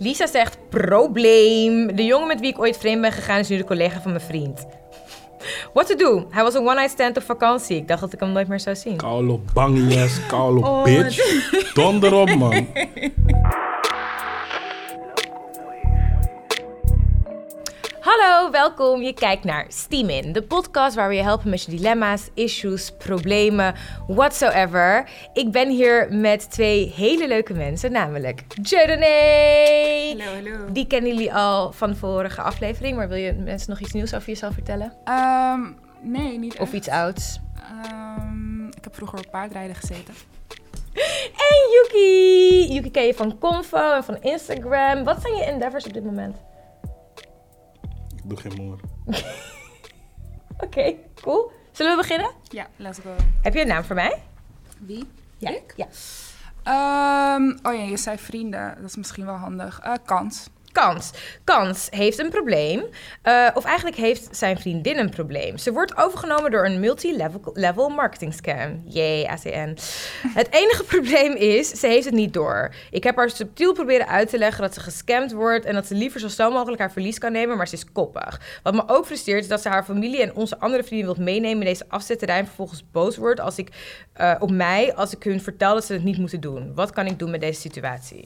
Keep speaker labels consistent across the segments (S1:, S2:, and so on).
S1: Lisa zegt probleem. De jongen met wie ik ooit vreemd ben gegaan is nu de collega van mijn vriend. What to do? Hij was een one-night stand op vakantie. Ik dacht dat ik hem nooit meer zou zien.
S2: Koude bangles, koude bitch. Donder op, man.
S1: Hallo, welkom. Je kijkt naar Steam In, de podcast waar we je helpen met je dilemma's, issues, problemen, whatsoever. Ik ben hier met twee hele leuke mensen, namelijk Jodene.
S3: Hallo, hallo.
S1: Die kennen jullie al van de vorige aflevering, maar wil je mensen nog iets nieuws over jezelf vertellen?
S3: Ehm, nee, niet
S1: Of
S3: echt.
S1: iets ouds?
S3: Ehm, ik heb vroeger op paardrijden gezeten.
S1: En Yuki! Yuki ken je van Convo en van Instagram. Wat zijn je endeavors op dit moment?
S2: Ik doe geen moer.
S1: Oké, cool. Zullen we beginnen?
S3: Ja, let's go.
S1: Heb je een naam voor mij?
S3: Wie?
S1: Ja. Ja.
S3: Ehm, oh ja, je zei vrienden. Dat is misschien wel handig. Eh, kans.
S1: Kans. Kans heeft een probleem. eh, of eigenlijk heeft zijn vriendin een probleem. Ze wordt overgenomen door een multi-level marketing scam. Jee, ACN. Het enige probleem is, ze heeft het niet door. Ik heb haar subtiel proberen uit te leggen dat ze gescamd wordt... en dat ze liever zo snel mogelijk haar verlies kan nemen, maar ze is koppig. Wat me ook frustreert is dat ze haar familie en onze andere vrienden wilt meenemen... in deze afzetterij en vervolgens boos wordt als ik, eh, op mij... als ik hun vertel dat ze het niet moeten doen. Wat kan ik doen met deze situatie?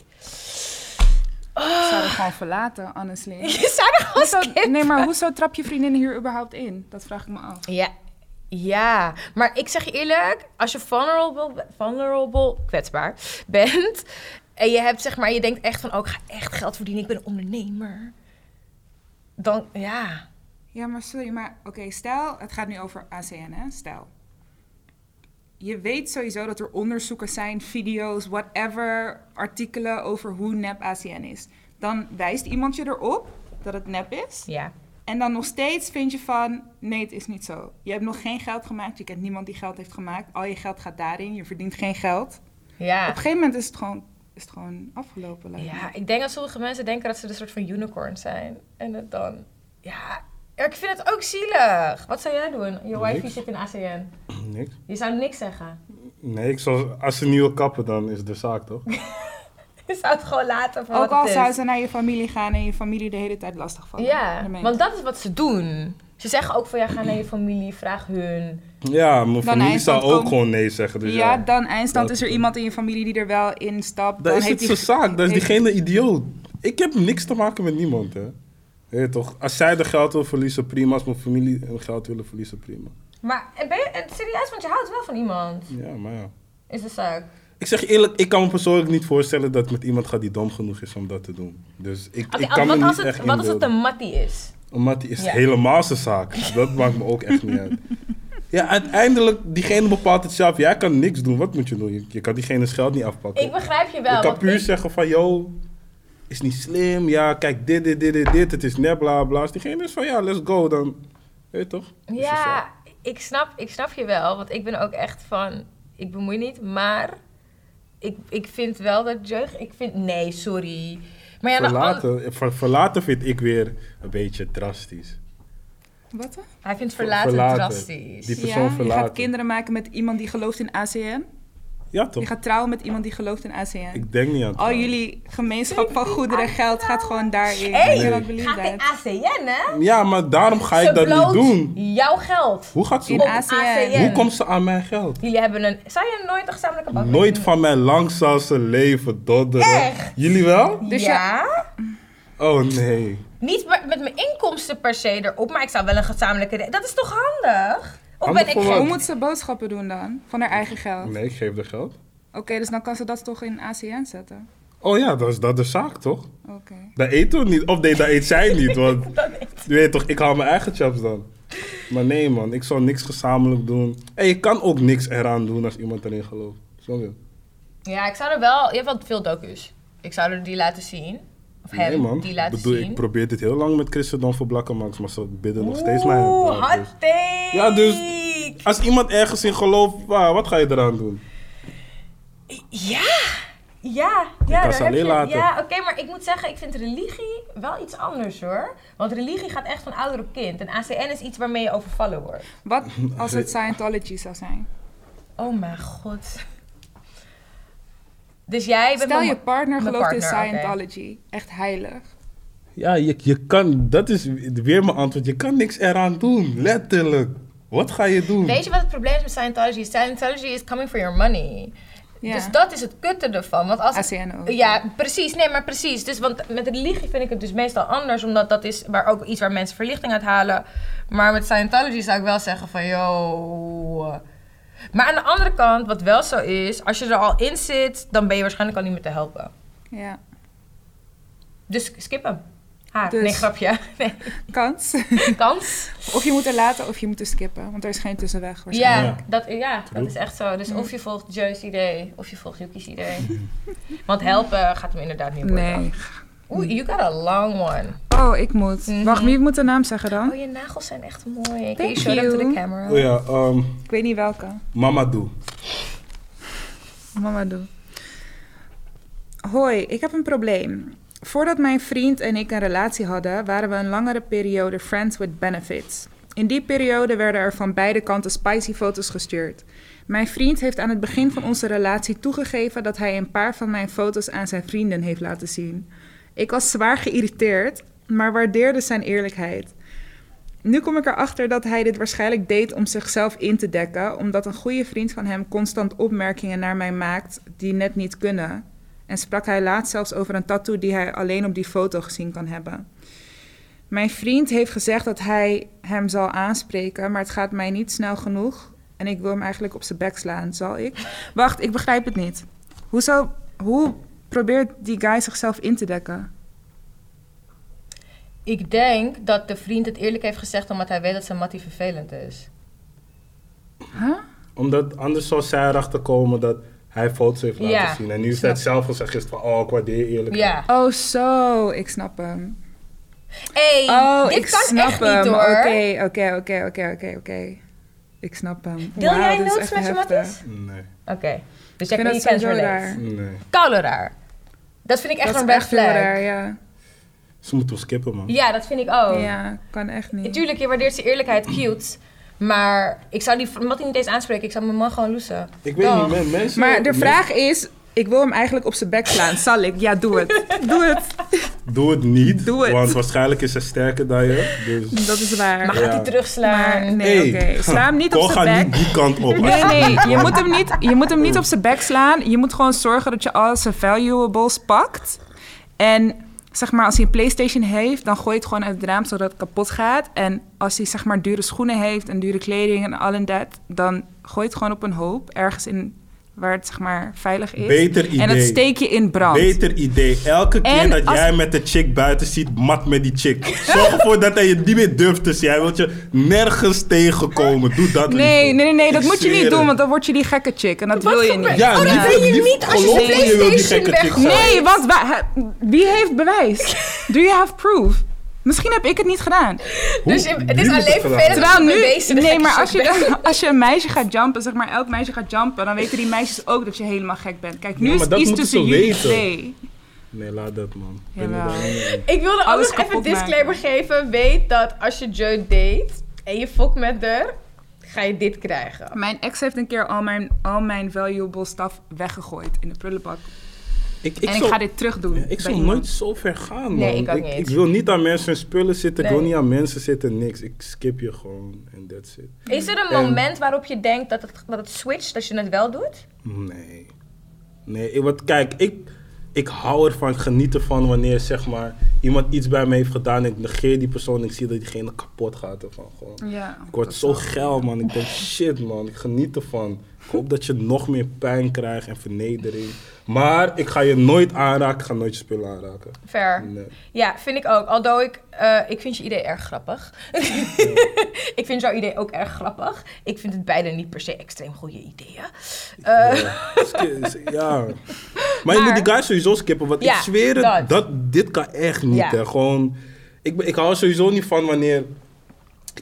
S3: Ik zou er gewoon verlaten, honestly.
S1: Je zou er gewoon
S3: Hoezo,
S1: skippen.
S3: nee, maar hoezo trap je vriendin hier überhaupt in? Dat vraag ik me af.
S1: Ja. Ja, maar ik zeg je eerlijk, als je vulnerable, vulnerable kwetsbaar bent en je hebt zeg maar, je denkt echt van, oh, ik ga echt geld verdienen, ik ben een ondernemer. Dan, ja.
S3: Ja, maar sorry, maar oké, stel, het gaat nu over ACN, hè? Stel. Je weet sowieso dat er onderzoeken zijn, video's, whatever, artikelen over hoe nep ACN is. Dan wijst iemand je erop dat het nep is.
S1: Ja.
S3: En dan nog steeds vind je van, nee, het is niet zo. Je hebt nog geen geld gemaakt, je kent niemand die geld heeft gemaakt. Al je geld gaat daarin, je verdient geen geld. Op
S1: Ja.
S3: een gegeven moment is het gewoon, is het gewoon afgelopen. lijkt me.
S1: Ja, ik denk dat sommige mensen denken dat ze een soort van unicorn zijn. En dat dan, ja. Ik vind het ook zielig. Wat zou jij doen? Je wifi
S2: Niks.
S1: zit in ACN.
S2: Niks.
S1: Je zou niks zeggen.
S2: Nee, ik zou, als ze nieuwe kappen, dan is de zaak toch?
S1: Je zou het gewoon laten voor
S3: Ook
S1: wat
S3: al
S1: het is.
S3: zou ze naar je familie gaan en je familie de hele tijd lastig vallen.
S1: Ja,
S3: Daarmee.
S1: want dat is wat ze doen. Ze zeggen ook van ja, ga naar je familie, vraag hun.
S2: Ja, mijn familie
S3: hij
S2: zou
S3: kan
S2: ook
S3: komen.
S2: gewoon nee zeggen. Dus ja,
S3: ja, dan eindstand
S2: Dat-
S3: is er iemand in je familie die er wel in stapt.
S2: Dat
S3: dan
S2: is
S3: heeft
S2: het
S3: die-
S2: zijn zaak. Dat is
S3: heeft-
S2: diegene idioot. Ik heb niks te maken met niemand, hè. Weet je toch? Als zij de geld wil verliezen, prima. Als mijn familie hun geld willen verliezen, prima.
S1: Maar eh, ben je eh, serieus, want je houdt wel van iemand,
S2: Ja, maar ja.
S1: is de zaak.
S2: Ik zeg je eerlijk, ik kan me persoonlijk niet voorstellen dat ik met iemand gaat die dom genoeg is om dat te doen. Dus ik,
S1: Oké,
S2: ik kan
S1: wat,
S2: me
S1: als
S2: niet
S1: het,
S2: echt
S1: wat als het
S2: inbeelden.
S1: een mattie is?
S2: Omdat die is
S1: Ja.
S2: helemaal zijn zaak. Dat maakt me ook echt niet uit. Ja, uiteindelijk, diegene bepaalt het zelf. Jij kan niks doen. Wat moet je doen? Je, je kan diegene's geld niet afpakken.
S1: Ik begrijp je wel.
S2: je kan
S1: want
S2: puur
S1: ik-
S2: zeggen van, yo, is niet slim. Ja, kijk, dit, dit, dit, dit, dit. Het is net bla, bla. Als diegene is van, ja, let's go, dan... Weet je toch? Is je zaak.
S1: Ja, ik snap, ik snap je wel, want ik ben ook echt van, ik bemoei niet, maar ik, ik vind wel dat jeugd, ik vind, nee, sorry. Maar ja, nou,
S2: Verlaten, ver- verlaten vind ik weer een beetje drastisch.
S3: Wat? hè?
S1: hij vindt verlaten,
S2: Verlaten.
S1: drastisch.
S2: Die- persoon
S3: Ja, je gaat
S2: verlaten.
S3: kinderen maken met iemand die gelooft in ACN.
S2: Ja,
S3: Je
S2: toch?
S3: gaat trouwen met iemand die gelooft in ACN.
S2: Ik denk niet
S1: Oh,
S2: aan
S3: Al
S2: trouwen.
S3: jullie gemeenschap van goederen geld gaat gewoon daarin.
S1: Hey,
S3: I cannot
S1: Gaat
S3: believe
S1: in
S3: that.
S1: ACN, hè?
S2: Ja, maar daarom ga ik
S1: Ze
S2: dat niet
S1: bloot
S2: doen.
S1: jouw geld.
S2: Hoe gaat
S3: In
S2: ze...
S3: ACN.
S2: Hoe komt ze aan mijn geld?
S1: Jullie hebben een. Zou je nooit een gezamenlijke bank?
S2: Nooit van mijn langzaamste leven dodderen.
S1: Echt?
S2: Jullie wel?
S3: Dus
S1: ja.
S2: Oh nee.
S1: Niet met met mijn inkomsten per se erop, maar ik zou wel een gezamenlijke. re- Dat is toch handig? Of
S2: Handig
S1: ben ik
S2: voor
S3: Hoe
S1: gek?
S2: wat?
S3: moet ze boodschappen doen dan? Van haar eigen geld?
S2: Nee, ik geef de geld.
S3: Oké, dus dan kan ze dat toch in ACN zetten?
S2: Oh ja, dat is dat de zaak toch?
S3: Oké.
S2: Dat eet we niet. Of nee, dat eet zij niet. Want je weet toch, ik haal mijn eigen chaps dan. Maar nee man, ik zal niks gezamenlijk doen. En je kan ook niks eraan doen als iemand erin gelooft. Snap je?
S1: Ja, ik zou er wel. Je hebt wel veel docus. Ik zou er die laten zien. Of hem
S2: nee man.
S1: die laten
S2: Bedoel,
S1: zien.
S2: ik probeer dit heel lang met christendom voor Blakkenmax, maar ze bidden nog steeds
S1: Oeh,
S2: mijn hand.
S1: hot
S2: Dus
S1: take.
S2: Ja, dus- Als iemand ergens in gelooft, waar, wat ga je eraan doen?
S1: Ja. Ja, ja,
S2: kan
S1: daar
S2: ze
S1: heb
S2: alleen
S1: je-
S2: laten.
S1: ja oké, maar ik moet zeggen, ik vind religie wel iets anders hoor. Want religie gaat echt van ouder op kind. En ACN is iets waarmee je overvallen wordt.
S3: Wat als het Scientology zou zijn?
S1: Oh mijn god. Dus jij bent
S3: Stel
S1: mijn-
S3: je partner
S1: mijn
S3: gelooft in
S1: partner, oké.
S3: Scientology. Echt heilig.
S2: Ja, je, je kan, dat is weer mijn antwoord. Je kan niks eraan doen, letterlijk. Wat ga je doen?
S1: Weet je wat het probleem is met Scientology? Scientology is coming for your money.
S3: Ja.
S1: Dus dat is het kutte ervan. Want als
S3: ACN ook.
S1: Ja, precies. Nee, maar precies. Dus want met religie vind ik het dus meestal anders. Omdat dat is waar ook iets waar mensen verlichting uit halen. Maar met Scientology zou ik wel zeggen van, yo... Maar aan de andere kant, wat wel zo is, als je er al in zit, dan ben je waarschijnlijk al niet meer te helpen.
S3: Ja.
S1: Dus skip hem. Ha,
S3: Dus-
S1: Nee, grapje. Nee,
S3: Kans.
S1: kans.
S3: of je moet er laten of je moet er skippen. Want er is geen tussenweg waarschijnlijk.
S1: Ja,
S2: Ja.
S1: dat, ja, dat is echt zo. Dus of je volgt Joe's idee, of je volgt Yuki's idee. Want helpen gaat hem inderdaad niet worden.
S3: Nee.
S1: Oeh, you got a long one.
S3: Oh, ik moet.
S1: Mhm.
S3: Wacht, wie moet de naam zeggen dan?
S1: Oh, je nagels zijn echt mooi. Can you
S3: Thank
S1: show them to the
S3: you.
S1: camera?
S2: Oh ja, ehm
S3: Ik weet niet welke.
S2: mama doe.
S3: Mama doe. Hoi, ik heb een probleem. Voordat mijn vriend en ik een relatie hadden, waren we een langere periode friends with benefits. In die periode werden er van beide kanten spicy foto's gestuurd. Mijn vriend heeft aan het begin van onze relatie toegegeven dat hij een paar van mijn foto's aan zijn vrienden heeft laten zien. Ik was zwaar geïrriteerd, maar waardeerde zijn eerlijkheid. Nu kom ik erachter dat hij dit waarschijnlijk deed om zichzelf in te dekken, omdat een goede vriend van hem constant opmerkingen naar mij maakt die net niet kunnen. En sprak hij laatst zelfs over een tattoo die hij alleen op die foto gezien kan hebben. Mijn vriend heeft gezegd dat hij hem zal aanspreken, maar het gaat mij niet snel genoeg. En ik wil hem eigenlijk op zijn bek slaan, zal ik? Wacht, ik begrijp het niet. Hoezo, hoe probeert die guy zichzelf in te dekken?
S1: Ik denk dat de vriend het eerlijk heeft gezegd omdat hij weet dat zijn mattie vervelend is.
S3: Huh?
S2: Omdat anders zou zij erachter komen dat hij foto's heeft laten
S1: Ja,
S2: zien. En nu is
S1: snap
S2: het zelf gezegd gisteren van, oh, ik waardeer eerlijk.
S1: Ja.
S3: Oh, zo, ik snap hem.
S1: Hé,
S3: Oh,
S1: dit
S3: ik
S1: kan
S3: snap
S1: echt
S3: hem.
S1: niet hoor.
S3: Oké, oké, oké, oké, oké, oké. Ik snap hem.
S1: Deel
S3: Wauw,
S1: jij
S3: dit is
S1: notes
S3: echt
S1: met je,
S3: heftig.
S1: Matties?
S2: Nee,
S1: Oké. Dus
S3: Ik
S1: jij
S3: vind
S1: kan can't
S3: dat sowieso
S1: relate.
S3: raar.
S2: nee.
S1: Koude raar. Dat vind ik echt
S3: dat
S1: een
S3: is
S1: red
S3: echt heel
S1: flag.
S3: raar, ja.
S2: Ze moeten wel skippen, man.
S1: Ja, dat vind ik ook.
S3: Ja, kan echt niet.
S1: Natuurlijk, je waardeert zijn eerlijkheid, cute. Maar ik zou die Mattie niet eens aanspreken. Ik zou mijn man gewoon loesen.
S2: Ik weet
S1: Dag.
S2: niet, men- mensen...
S3: Maar de
S2: men-
S3: vraag is, ik wil hem eigenlijk op zijn bek slaan. Zal ik? Ja, doe het. Doe het.
S2: Doe het niet,
S3: Doe het.
S2: want waarschijnlijk is hij sterker dan je. Dus...
S3: Dat is waar.
S1: Maar
S3: Maar,
S1: gaat
S2: Ja.
S1: hij terugslaan?
S3: nee, oké.
S2: Hey,
S3: Sla hem niet op
S2: Cor, ga
S3: zijn
S2: niet
S3: bek.
S2: die kant op.
S3: Nee, nee, je moet, hem niet, je moet hem niet op zijn bek slaan. Je moet gewoon zorgen dat je al zijn valuables pakt. En zeg maar, als hij een PlayStation heeft, dan gooi je het gewoon uit het raam zodat het kapot gaat. En als hij zeg maar dure schoenen heeft en dure kleding en al en dat, dan gooi je het gewoon op een hoop ergens in waar het zeg maar veilig is.
S2: Beter idee.
S3: En dat steek je in brand.
S2: Beter idee. Elke keer
S3: En
S2: dat
S3: als-
S2: jij met de chick buiten ziet, mat met die chick. Zorg ervoor dat hij je niet meer durft te zien. Hij wil je nergens tegenkomen. Doe dat
S3: Nee,
S2: liever.
S3: nee, nee, nee,
S2: Ik
S3: dat moet je
S2: zweer
S3: niet doen,
S2: het.
S3: want dan word je die gekke chick. En dat wil je niet.
S2: Ja,
S1: Oh, dat
S2: liever-
S1: wil je
S2: liever-
S1: niet als je
S2: geloof
S1: de
S2: me, je wil die
S1: PlayStation
S2: gekke chick
S1: weggooit.
S2: zijn.
S3: Nee, want wa- ha- wie heeft bewijs? Do you have proof? Misschien heb ik het niet gedaan.
S2: Hoe?
S1: Dus je- het
S2: Wie
S1: is
S2: moet
S1: alleen
S2: gedaan
S1: vervelend
S2: hebben?
S3: Terwijl
S1: ben
S3: nu,
S1: mee bezig,
S3: nee,
S1: gekke
S3: maar
S1: shit
S3: als je, als je een meisje gaat jumpen, zeg maar elk meisje gaat jumpen, dan weten die meisjes ook dat je helemaal gek bent. Kijk, nu
S2: Ja,
S3: is
S2: maar
S3: het
S2: dat
S3: iets
S2: moeten
S3: tussen
S2: ze
S3: jullie
S2: weten.
S3: twee.
S2: Nee, laat dat man. Ik ben
S3: Jawel.
S2: er daar niet mee.
S1: Ik wilde ook
S3: Alles
S1: nog even een
S3: kapot maken.
S1: disclaimer geven. Weet dat als je Joe date en je fokt met haar, ga je dit krijgen.
S3: Mijn ex heeft een keer al mijn, al mijn valuable stuff weggegooid in de prullenbak.
S2: Ik, ik
S3: en
S2: zou-
S3: ik ga dit terug doen.
S2: Ja, ik
S3: bij
S2: zou
S3: iemand.
S2: nooit zo ver gaan, man.
S1: Nee, ik ook
S2: ik,
S1: niet.
S2: wil niet aan mensen hun spullen zitten. Ik
S1: Nee.
S2: wil niet aan mensen zitten, niks. Ik skip je gewoon en that's it.
S1: Is er een
S2: En-
S1: moment waarop je denkt dat het, dat het switcht, dat je het wel doet?
S2: Nee. Nee, ik- want kijk, ik, ik hou ervan, ik geniet ervan wanneer zeg maar iemand iets bij me heeft gedaan en ik negeer die persoon en ik zie dat diegene kapot gaat ervan gewoon.
S3: Ja,
S2: Ik word
S3: dat
S2: zo
S3: zou-
S2: geil man, ik denk shit man, ik geniet ervan. Ik hoop dat je nog meer pijn krijgt en vernedering. Maar ik ga je nooit aanraken, ik ga nooit je spullen aanraken.
S1: Ver.
S2: Nee.
S1: Ja, vind ik ook. Alhoewel ik, eh, ik vind je idee erg grappig. ik vind jouw idee ook erg grappig. Ik vind het beide niet per se extreem goede ideeën. Eh,
S2: Ja. Sk- ja. Maar, je moet die guy sowieso skippen. Want
S1: Ja,
S2: ik zweer
S1: dat.
S2: het, dat. dit kan echt niet.
S1: Ja.
S2: Hè. Gewoon, ik, ben- ik hou er sowieso niet van wanneer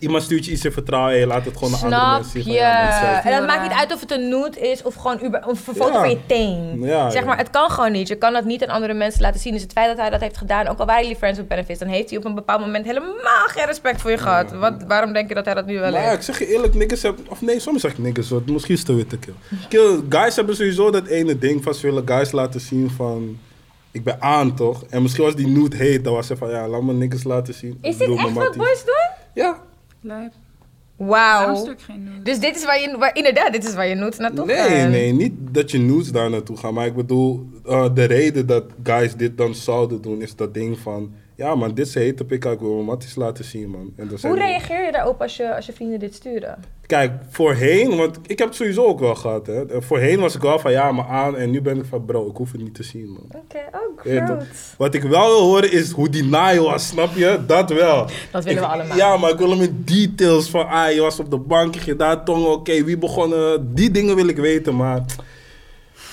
S2: Iemand stuurt je iets in vertrouwen en je laat het gewoon naar andere
S1: Snap
S2: mensen zien.
S1: je?
S2: van, ja, dit is het.
S1: en dat
S3: Ja.
S1: maakt niet uit of het een nude is of gewoon uber, of een foto
S2: Ja.
S1: van je teen.
S2: Ja,
S1: zeg
S2: ja.
S1: maar, het kan gewoon niet. Je kan dat niet aan andere mensen laten zien. Dus het feit dat hij dat heeft gedaan, ook al waren jullie friends with benefits, dan heeft hij op een bepaald moment helemaal geen respect voor je gehad. Wat, waarom denk je dat hij dat nu wel
S2: Maar ja,
S1: heeft?
S2: ik zeg je eerlijk, niggas hebben... Of nee, soms zeg ik niggas, want misschien is het te witte kill. kill. Guys hebben sowieso dat ene ding van ze willen guys laten zien van... Ik ben aan, toch? En misschien was die nude heet, dan was ze van... Ja, laat me niggas laten zien.
S1: Is dit
S2: Ik bedoel,
S1: echt
S2: mijn
S1: wat boys
S2: matties.
S1: doen?
S2: Ja.
S3: Lijp. Waarom
S1: Wauw.
S3: stuk geen nude?
S1: Dus dit is waar je, waar, inderdaad, dit is waar je nudes naartoe
S2: nee,
S1: gaan.
S2: nee, niet dat je nudes daar naartoe gaat. Maar ik bedoel, eh, de reden dat guys dit dan zouden doen, is dat ding van... Ja, man, dit is een hete pik, ik wil mijn matties laten zien, man. En dan zijn
S1: Hoe
S2: die-
S1: reageer je daarop als je, als je vrienden dit sturen?
S2: Kijk, voorheen, want ik heb het sowieso ook wel gehad, hè. Eh, Voorheen was ik wel van, ja, maar aan. En nu ben ik van, bro, ik hoef het niet te zien, man.
S1: Oké, oh,
S2: Ja, dat-
S1: groot.
S2: Eh, Wat ik wel wil horen is hoe die naai was, snap je? Dat wel.
S1: Dat willen we
S2: Ik-
S1: allemaal.
S2: Ja, maar ik wil hem in details van, ah, je was op de bank, je ging daar tongen, oké, wie begon, eh, die dingen wil ik weten, maar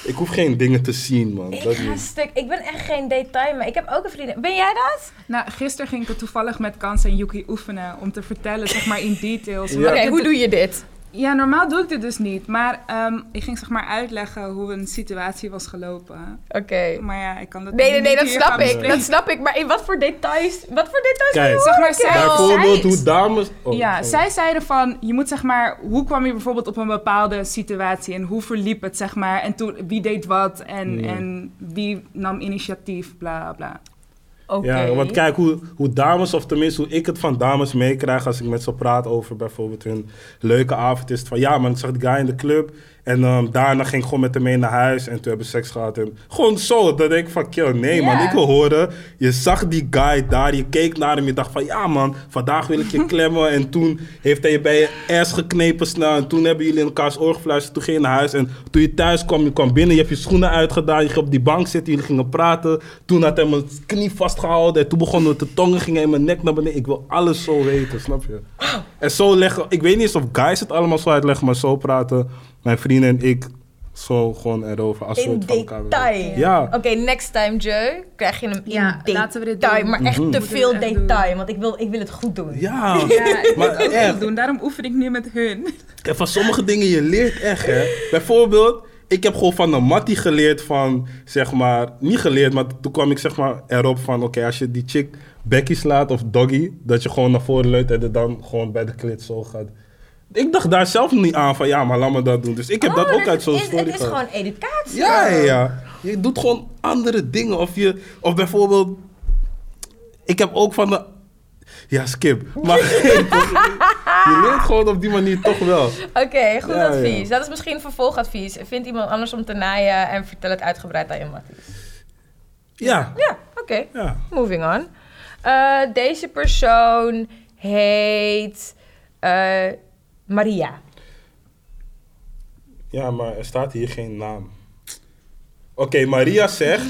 S2: ik hoef geen dingen te zien, man.
S1: Ik
S2: Dat
S1: ga
S2: niet.
S1: stuk. Ik ben echt geen detail, maar ik heb ook een vriendin. Ben jij dat?
S3: Nou, gisteren ging ik er toevallig met Kans en Yuki oefenen om te vertellen, zeg maar in details.
S2: Ja.
S3: omdat
S1: Oké,
S3: ik
S1: hoe
S3: het-
S1: doe je dit?
S3: Ja, normaal doe ik dit dus niet. Maar ehm, ik ging zeg maar uitleggen hoe een situatie was gelopen.
S1: Oké.
S3: Maar ja, ik kan dat
S1: Nee, nee,
S3: niet
S1: nee, dat
S3: hier
S1: snap
S3: gaan
S1: ik.
S3: bespreken.
S1: Dat snap ik. Maar in wat voor details? Wat voor details?
S2: Kijk,
S3: Zeg maar, zij,
S2: bijvoorbeeld
S3: zij-
S2: hoe dames... oh,
S3: ja,
S2: sorry.
S3: zij zeiden van, je moet zeg maar, hoe kwam je bijvoorbeeld op een bepaalde situatie en hoe verliep het zeg maar en toen, wie deed wat en,
S2: Ja.
S3: en wie nam initiatief, bla bla.
S1: Oké.
S2: Ja, want kijk hoe, hoe dames, of tenminste hoe ik het van dames meekrijg als ik met ze praat over bijvoorbeeld hun leuke avond. Is het van ja, man, ik zag die guy in de club. En ehm, daarna ging ik gewoon met hem mee naar huis en toen hebben we seks gehad. En gewoon zo, dat denk ik van kill, nee
S1: Ja.
S2: man, ik wil horen. Je zag die guy daar, je keek naar hem, je dacht van ja man, vandaag wil ik je klemmen. en toen heeft hij je bij je ass geknepen snel. En toen hebben jullie in elkaars oor gefluisterd, toen ging je naar huis. En toen je thuis kwam, je kwam binnen, je hebt je schoenen uitgedaan, je ging op die bank zitten, jullie gingen praten. Toen had hij mijn knie vastgehouden en toen begonnen we te tongen, ging hij mijn nek naar beneden. Ik wil alles zo weten, snap je? En zo leggen, ik weet niet eens of guys het allemaal zo uitleggen, maar zo praten mijn vrienden en ik zo gewoon erover. Als
S1: In
S2: soort van elkaar
S1: detail.
S2: willen. Ja.
S1: Oké, next time, Joe, krijg je hem in
S3: Ja,
S1: detail.
S3: laten we dit doen.
S1: Maar echt te
S3: Moeten we
S1: veel
S3: dit echt
S1: detail, want ik wil, ik wil het goed doen.
S2: Mhm. Ja,
S3: Ja, ik
S2: maar
S3: moet
S2: echt.
S3: ook echt doen, daarom oefen ik nu met hun.
S2: En van sommige dingen, je leert echt, hè. Bijvoorbeeld, ik heb gewoon van een mattie geleerd van, zeg maar... Niet geleerd, maar toen kwam ik zeg maar erop van... Oké, als je die chick Becky slaat of Doggy... Dat je gewoon naar voren leunt en er dan gewoon bij de klit zo gaat. Ik dacht daar zelf niet aan van, ja, maar laat me dat doen. Dus ik heb
S1: Oh,
S2: dat ook
S1: dus
S2: uit zo'n
S1: het is-
S2: story
S1: Het is
S2: gehad.
S1: gewoon educatie.
S2: Ja, ja, ja. Je doet gewoon andere dingen. Of, je, of bijvoorbeeld... Ik heb ook van de... Ja, skip. Maar je leert gewoon op die manier toch wel.
S1: Oké, goed
S2: Ja,
S1: advies.
S2: ja.
S1: Dat is misschien vervolgadvies. Vind iemand anders om te naaien en vertel het uitgebreid aan je mattie.
S2: Ja,
S1: Ja, oké.
S2: ja.
S1: Moving on. Eh, deze persoon heet eh, Maria.
S2: Ja, maar er staat hier geen naam. Oké, Maria zegt...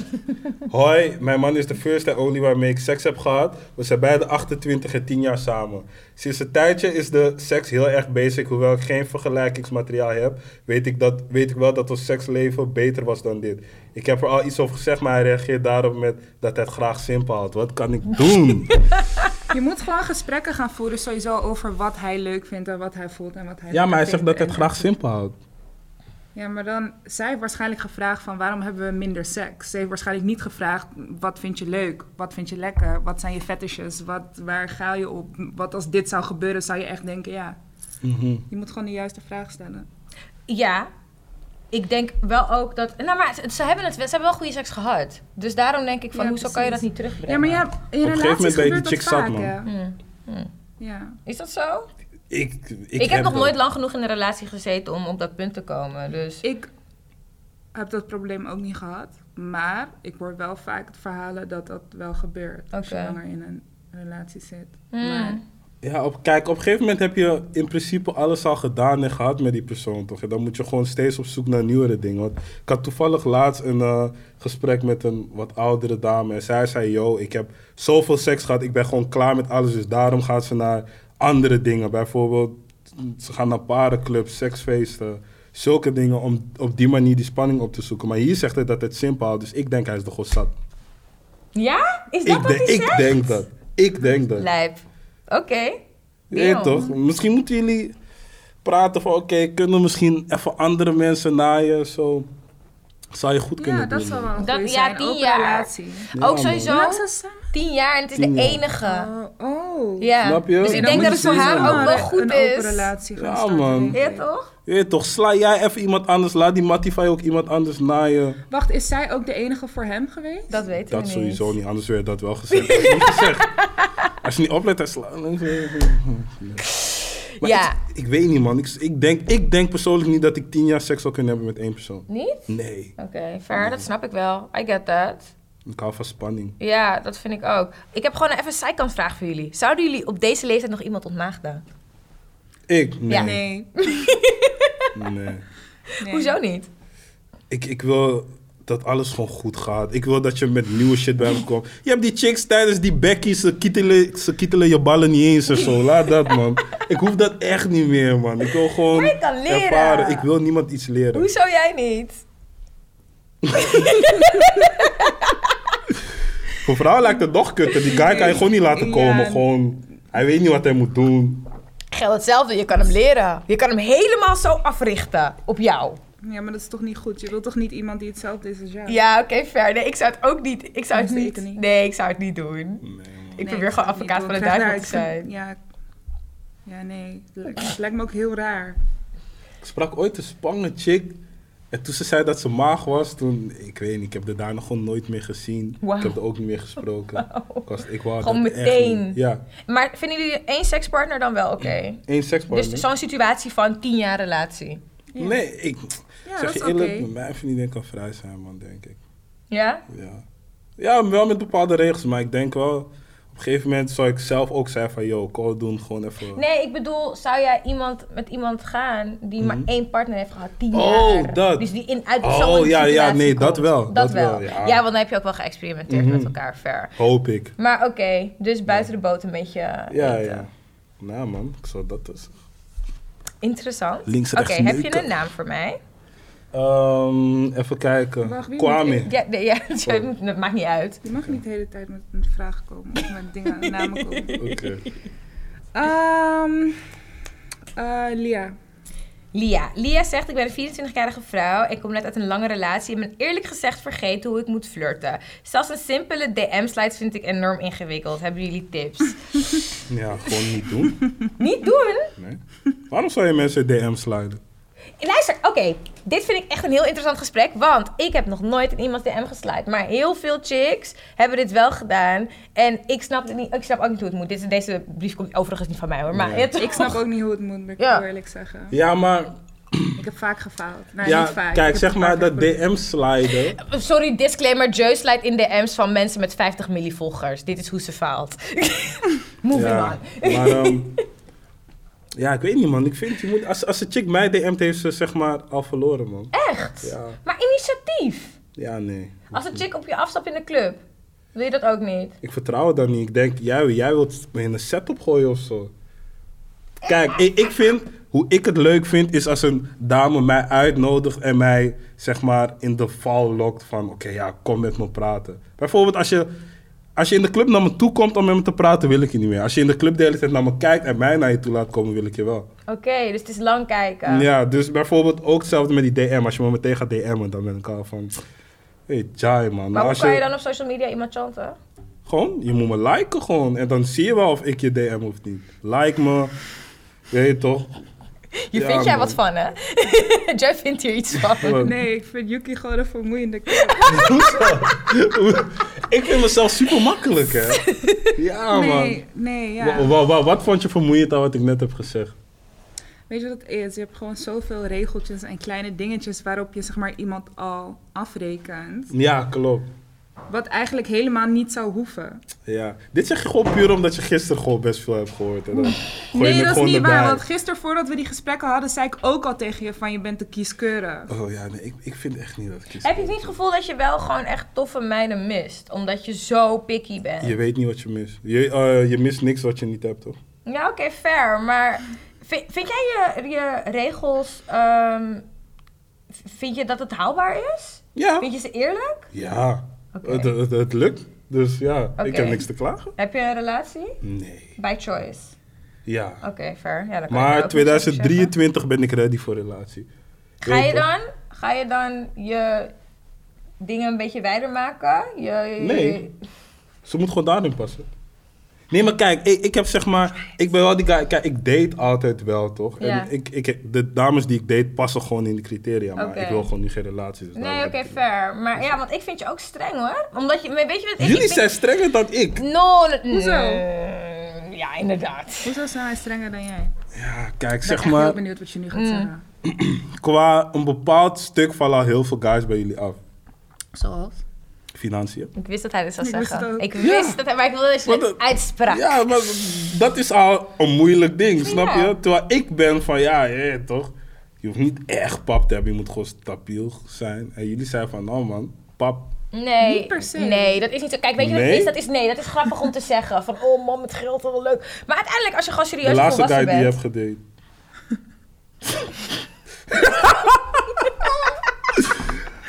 S2: Hoi, mijn man is de first and only waarmee ik seks heb gehad. We zijn beide 28 en 10 jaar samen. Sinds een tijdje is de seks heel erg basic. Hoewel ik geen vergelijkingsmateriaal heb, weet ik, dat, weet ik wel dat ons seksleven beter was dan dit. Ik heb er al iets over gezegd, maar hij reageert daarop met dat hij het graag simpel had. Wat kan ik doen?
S3: Je moet gewoon gesprekken gaan voeren sowieso over wat hij leuk vindt en wat hij voelt en wat hij
S2: ja, maar hij
S3: vindt
S2: zegt dat hij
S3: en-
S2: het graag simpel houdt.
S3: Ja, maar dan, zij heeft waarschijnlijk gevraagd van waarom hebben we minder seks? Ze heeft waarschijnlijk niet gevraagd wat vind je leuk, wat vind je lekker, wat zijn je fetishes, wat, waar ga je op? Wat als dit zou gebeuren, zou je echt denken, ja,
S2: Mhm.
S3: je moet gewoon de juiste vraag stellen.
S1: Ja, ik denk wel ook dat. Nou, maar ze, ze hebben het, wel- ze hebben wel goede seks gehad. Dus daarom denk ik van,
S3: Ja,
S1: hoezo kan je dat
S3: precies.
S1: niet terugbrengen?
S3: Ja, maar ja, in
S2: gegeven
S3: relaties
S2: moment ben je
S3: gebeurt
S2: die chick
S3: dat
S2: zat,
S3: vaak,
S2: man.
S3: hè?
S1: Hmm, hmm.
S3: Ja.
S1: Is dat zo?
S2: Ik,
S1: Ik,
S2: ik,
S1: heb, nog
S2: dat.
S1: nooit lang genoeg in een relatie gezeten om op dat punt te komen. Dus
S3: Ik heb dat probleem ook niet gehad, maar ik hoor wel vaak het verhalen dat dat wel gebeurt als je
S1: Oké.
S3: langer in een relatie zit.
S1: Hmm.
S3: Maar
S2: Ja, op, kijk, op een gegeven moment heb je in principe alles al gedaan en gehad met die persoon, toch? En dan moet je gewoon steeds op zoek naar nieuwere dingen. Want ik had toevallig laatst een eh, gesprek met een wat oudere dame. En zij zei, yo, ik heb zoveel seks gehad, ik ben gewoon klaar met alles. Dus daarom gaat ze naar andere dingen. Bijvoorbeeld, ze gaan naar parenclubs, seksfeesten. Zulke dingen om op die manier die spanning op te zoeken. Maar hier zegt hij dat het simpel houdt. Dus ik denk, hij is de god zat.
S1: ja, is dat
S2: Ik,
S1: wat
S2: denk-
S1: hij
S2: ik
S1: zegt?
S2: denk dat. Ik denk dat.
S1: Lijp. Oké.
S2: Je weet
S1: Damn.
S2: toch? Misschien moeten jullie praten van, oké, kunnen misschien even andere mensen naaien? Zo zou je goed kunnen
S3: Ja, dat
S2: doen.
S3: zal wel een
S1: Dat-
S3: goeie
S1: ja,
S3: zijn.
S1: tien
S3: Open
S1: jaar.
S3: relatie.
S2: Ja,
S1: Ook
S2: man.
S1: sowieso
S3: Hoe lang zijn ze samen?
S1: tien jaar en het is
S2: Tien
S1: de
S2: jaar.
S1: enige.
S3: oh.
S1: ja.
S2: Snap je?
S1: Dus ik
S2: En
S1: denk
S2: dan
S1: dat het voor
S2: moet je
S1: haar
S2: sowieso
S1: ook wel goed
S3: Een open
S1: is.
S3: relatie gaan
S2: Ja,
S3: starten,
S2: man.
S3: denk ik.
S1: Ja, toch?
S2: Je weet toch, sla jij even iemand anders. Laat die Mattify ook iemand anders naaien.
S3: Wacht, is zij ook de enige voor hem geweest?
S1: Dat weten we
S2: Dat
S1: niet.
S2: sowieso niet, anders werd dat wel gezegd. Dat is niet gezegd. Als je niet oplet, dan sla... dan- Maar
S1: Ja.
S2: ik, ik weet niet, man. Ik, ik, denk, ik denk persoonlijk niet dat ik tien jaar seks zou kunnen hebben met één persoon.
S1: Niet?
S2: Nee.
S1: Oké, fair. Dat snap ik wel. I get that.
S2: Ik hou van spanning.
S1: Ja, dat vind ik ook. Ik heb gewoon even een zijkantvraag voor jullie. Zouden jullie op deze leeftijd nog iemand ontmaagden?
S2: Ik? Nee.
S1: Ja.
S2: nee.
S3: Nee. nee.
S1: Hoezo niet?
S2: Ik, ik wil dat alles gewoon goed gaat. Ik wil dat je met nieuwe shit bij me komt. Je hebt die chicks tijdens die bekkies, ze kietelen, ze kietelen je ballen niet eens en zo. Laat dat, man. Ik hoef dat echt niet meer, man. Ik wil gewoon
S1: Maar je kan leren.
S2: ervaren. Ik wil niemand iets leren.
S1: Hoezo jij niet?
S2: Voor vrouwen lijkt het nog kutter. Die guy kan je gewoon niet laten komen.
S3: Ja.
S2: Gewoon, hij weet niet wat hij moet doen.
S1: Geldt hetzelfde. Je kan hem leren. Je kan hem helemaal zo africhten op jou.
S3: Ja, maar dat is toch niet goed? Je wilt toch niet iemand die hetzelfde is als jou?
S1: Ja, oké, fair. Nee, ik zou het ook niet. Ik zou het
S3: Tenminste,
S1: niet.
S3: ik niet.
S1: Nee, ik zou het niet doen.
S2: Nee, man.
S1: Ik
S3: Nee,
S1: probeer gewoon
S3: dat
S1: advocaat
S3: niet.
S1: van de
S3: Ik wil
S1: duivel te
S3: graag daar- ik
S1: zijn.
S3: vind- Ja, ja, nee. Het lijkt- Het lijkt me ook heel raar.
S2: Ik sprak ooit een Spangen chick. En toen ze zei dat ze maag was, toen, ik weet niet, ik heb er daarna gewoon nooit meer gezien.
S1: Wauw.
S2: Ik heb er ook niet meer gesproken. Ik was, ik wou
S1: Gewoon
S2: dat echt
S1: meteen.
S2: niet. Ja,
S1: Maar vinden jullie één sekspartner dan wel oké?
S2: één
S1: Dus
S2: sekspartner.
S1: zo'n situatie van tien jaar relatie.
S3: Ja.
S2: Nee, ik
S3: Ja,
S2: zeg
S3: dat
S2: je
S3: is
S2: eerlijk,
S3: oké.
S2: mijn vriendin kan vrij zijn, man, denk ik.
S1: Ja?
S2: Ja. ja, wel met bepaalde regels, maar ik denk wel, op een gegeven moment zou ik zelf ook zeggen van, yo, call doen, gewoon even...
S1: Nee, ik bedoel, zou jij iemand met iemand gaan die
S2: Mhm.
S1: maar één partner heeft gehad, tien
S2: Oh,
S1: jaar?
S2: dat.
S1: Dus die in uit
S2: Oh,
S1: zo'n
S2: ja, ja,
S1: situatie
S2: nee, dat
S1: komt.
S2: wel,
S1: Dat,
S2: dat
S1: wel.
S2: wel, ja.
S1: want dan heb je ook wel geëxperimenteerd met
S2: Mhm.
S1: elkaar, fair.
S2: Hoop ik.
S1: Maar oké, dus buiten de boot een beetje eh,
S2: Ja,
S1: eten.
S2: ja. Nou man, ik zou dat dus.
S1: Interessant.
S2: Links,
S1: Oké,
S2: rechts
S1: heb je
S2: neuken.
S1: een naam voor mij?
S2: Ehm, even kijken.
S3: Wacht, wie
S2: Kwame.
S3: moet
S1: Ja, nee, ja, dat maakt niet uit.
S3: Je mag niet de hele tijd met, met vragen komen. Of met dingen, namen komen.
S2: Oké.
S3: Ehm eh, Lia.
S1: Lia. Lia zegt, ik ben een 24-jarige vrouw. Ik kom net uit een lange relatie en ben eerlijk gezegd vergeten hoe ik moet flirten. Zelfs een simpele DM-slides vind ik enorm ingewikkeld. Hebben jullie tips?
S2: Ja, gewoon niet doen.
S1: Niet doen?
S2: Nee. Waarom zou je mensen DM sliden?
S1: En Luister, oké. Dit vind ik echt een heel interessant gesprek. Want ik heb nog nooit in iemands DM gesluit. Maar heel veel chicks hebben dit wel gedaan. En ik snap, het niet, ik snap ook niet hoe het moet. Dit, deze brief komt overigens niet van mij hoor. Maar
S2: Nee.
S1: ja, toch?
S3: Ik snap ook niet hoe het moet, moet ik
S1: Ja.
S3: heel eerlijk zeggen.
S2: Ja, maar
S3: Ik heb vaak gefaald. Nou, niet
S2: ja,
S3: vaak.
S2: kijk,
S3: Ik
S2: zeg
S3: heb
S2: maar
S3: vaak
S2: dat
S3: geprobeerd.
S2: DM sliden.
S1: Sorry, disclaimer. Joe slijt in DM's van mensen met 50 millivolgers. Dit is hoe ze faalt. Moving
S2: ja,
S1: on.
S2: maar ehm, ja, ik weet niet man. Ik vind je moet als, als een chick mij DM't heeft ze zeg maar al verloren man.
S1: Echt?
S2: Ja,
S1: Maar initiatief.
S2: ja nee.
S1: Als een chick op je afstapt in de club, wil je dat ook niet?
S2: Ik vertrouw het dan niet. Ik denk, jij, jij wilt me in een setup gooien of zo. Kijk, ik, ik vind, hoe ik het leuk vind, is als een dame mij uitnodigt en mij, zeg maar, in de val lokt van, oké, ja, kom met me praten. Bijvoorbeeld als je, als je in de club naar me toe komt om met me te praten, wil ik je niet meer. Als je in de club de hele tijd naar me kijkt en mij naar je toe laat komen, wil ik je wel.
S1: Oké, dus het is lang kijken.
S2: Ja, dus bijvoorbeeld ook hetzelfde met die DM. Als je me meteen gaat DM'en, dan ben ik al van, hey, jai man.
S1: Maar hoe
S2: als
S1: kan je dan op social media iemand chanten?
S2: Gewoon, je moet me liken gewoon. En dan zie je wel of ik je DM of niet. Like me. Weet je toch?
S1: Hier
S2: Ja,
S1: vind jij
S2: man.
S1: wat van, hè? Joe vindt hier iets van.
S2: Wat?
S3: Nee, ik vind Yuki gewoon een vermoeiende kerel.
S2: Hoezo? ik vind mezelf super makkelijk, hè? Ja,
S3: Nee,
S2: Oh, man.
S3: nee, ja.
S2: Wa- wa- wa- wat vond je vermoeiend aan wat ik net heb gezegd?
S3: Weet je wat het is? Je hebt gewoon zoveel regeltjes en kleine dingetjes waarop je zeg maar iemand al afrekent.
S2: Ja, klopt.
S3: Wat eigenlijk helemaal niet zou hoeven.
S2: Ja. Dit zeg je gewoon puur omdat je gisteren gewoon best veel hebt gehoord. En dan gooi je
S3: nee,
S2: het
S3: dat is
S2: gewoon
S3: niet
S2: erbij.
S3: waar. Want gisteren voordat we die gesprekken hadden, zei ik ook al tegen je van je bent te kieskeurig.
S2: Oh ja, nee, ik, ik vind echt niet dat ik kies.
S1: Heb je het niet het gevoel dat je wel gewoon echt toffe meiden mist? Omdat je zo picky bent.
S2: Je weet niet wat je mist. Je, eh, je mist niks wat je niet hebt, toch?
S1: Ja, oké, fair. Maar vind, vind jij je, je regels... ehm, v- vind je dat het haalbaar is?
S2: Ja.
S1: Vind je ze eerlijk?
S2: Ja.
S1: Oké.
S2: Het, het, het lukt. Dus ja,
S1: Oké.
S2: ik heb niks te klagen.
S1: Heb je een relatie?
S2: Nee.
S1: By choice.
S2: Ja.
S1: Oké, fair. Ja, dan kan je daar ook
S2: Maar
S1: niks over zeggen.
S2: 2023 ben ik ready voor relatie.
S1: Ga
S2: Weet
S1: je
S2: toch?
S1: dan, ga je, dan je dingen een beetje wijder maken? Je, je-
S2: Nee. Ze moet gewoon daarin passen. Nee, maar kijk, ik, ik heb zeg maar... Ik ben wel die guy... Kijk, ik date altijd wel, toch?
S1: Ja.
S2: En ik, ik, de dames die ik date passen gewoon in de criteria. Maar
S1: Oké.
S2: ik wil gewoon nu geen relatie. Dus daarom
S1: Nee, oké,
S2: heb ik-
S1: fair. Maar ja, want ik vind je ook streng hoor. Omdat je, maar weet je wat ik...
S2: Jullie
S1: ik
S2: zijn
S1: vind-
S2: strenger dan ik.
S1: No, no,
S3: Hoezo?
S1: no. Ja, inderdaad.
S3: Hoezo zijn wij strenger dan jij?
S2: Ja, kijk,
S3: Ik ben
S2: zeg
S3: echt heel
S2: maar...
S3: benieuwd wat je nu gaat zeggen.
S2: Qua een bepaald stuk vallen al heel veel guys bij jullie af.
S3: Zoals?
S2: Financiën.
S1: Ik wist dat hij dit zou
S3: Ik wist het
S1: zeggen.
S3: ook.
S1: Ik wist dat hij, maar ik wilde dat je
S2: Wat
S1: het
S2: een-
S1: uitsprak.
S2: Ja, maar dat is al een moeilijk ding, snap
S1: Ja.
S2: je? Terwijl ik ben van, ja, ja, toch? Je hoeft niet echt pap te hebben, je moet gewoon stabiel zijn. En jullie zijn van, nou man, pap.
S1: Nee,
S3: Niet per se.
S1: nee, dat is niet zo. Kijk, weet je wat
S2: Nee?
S1: het is? Dat is? Nee, dat is grappig om te zeggen. Van, oh man, met geld, wel leuk. Maar uiteindelijk, als je gewoon
S2: De
S1: serieus
S2: laatste guy
S1: volwassen
S2: die je
S1: bent...
S2: hebt gedate.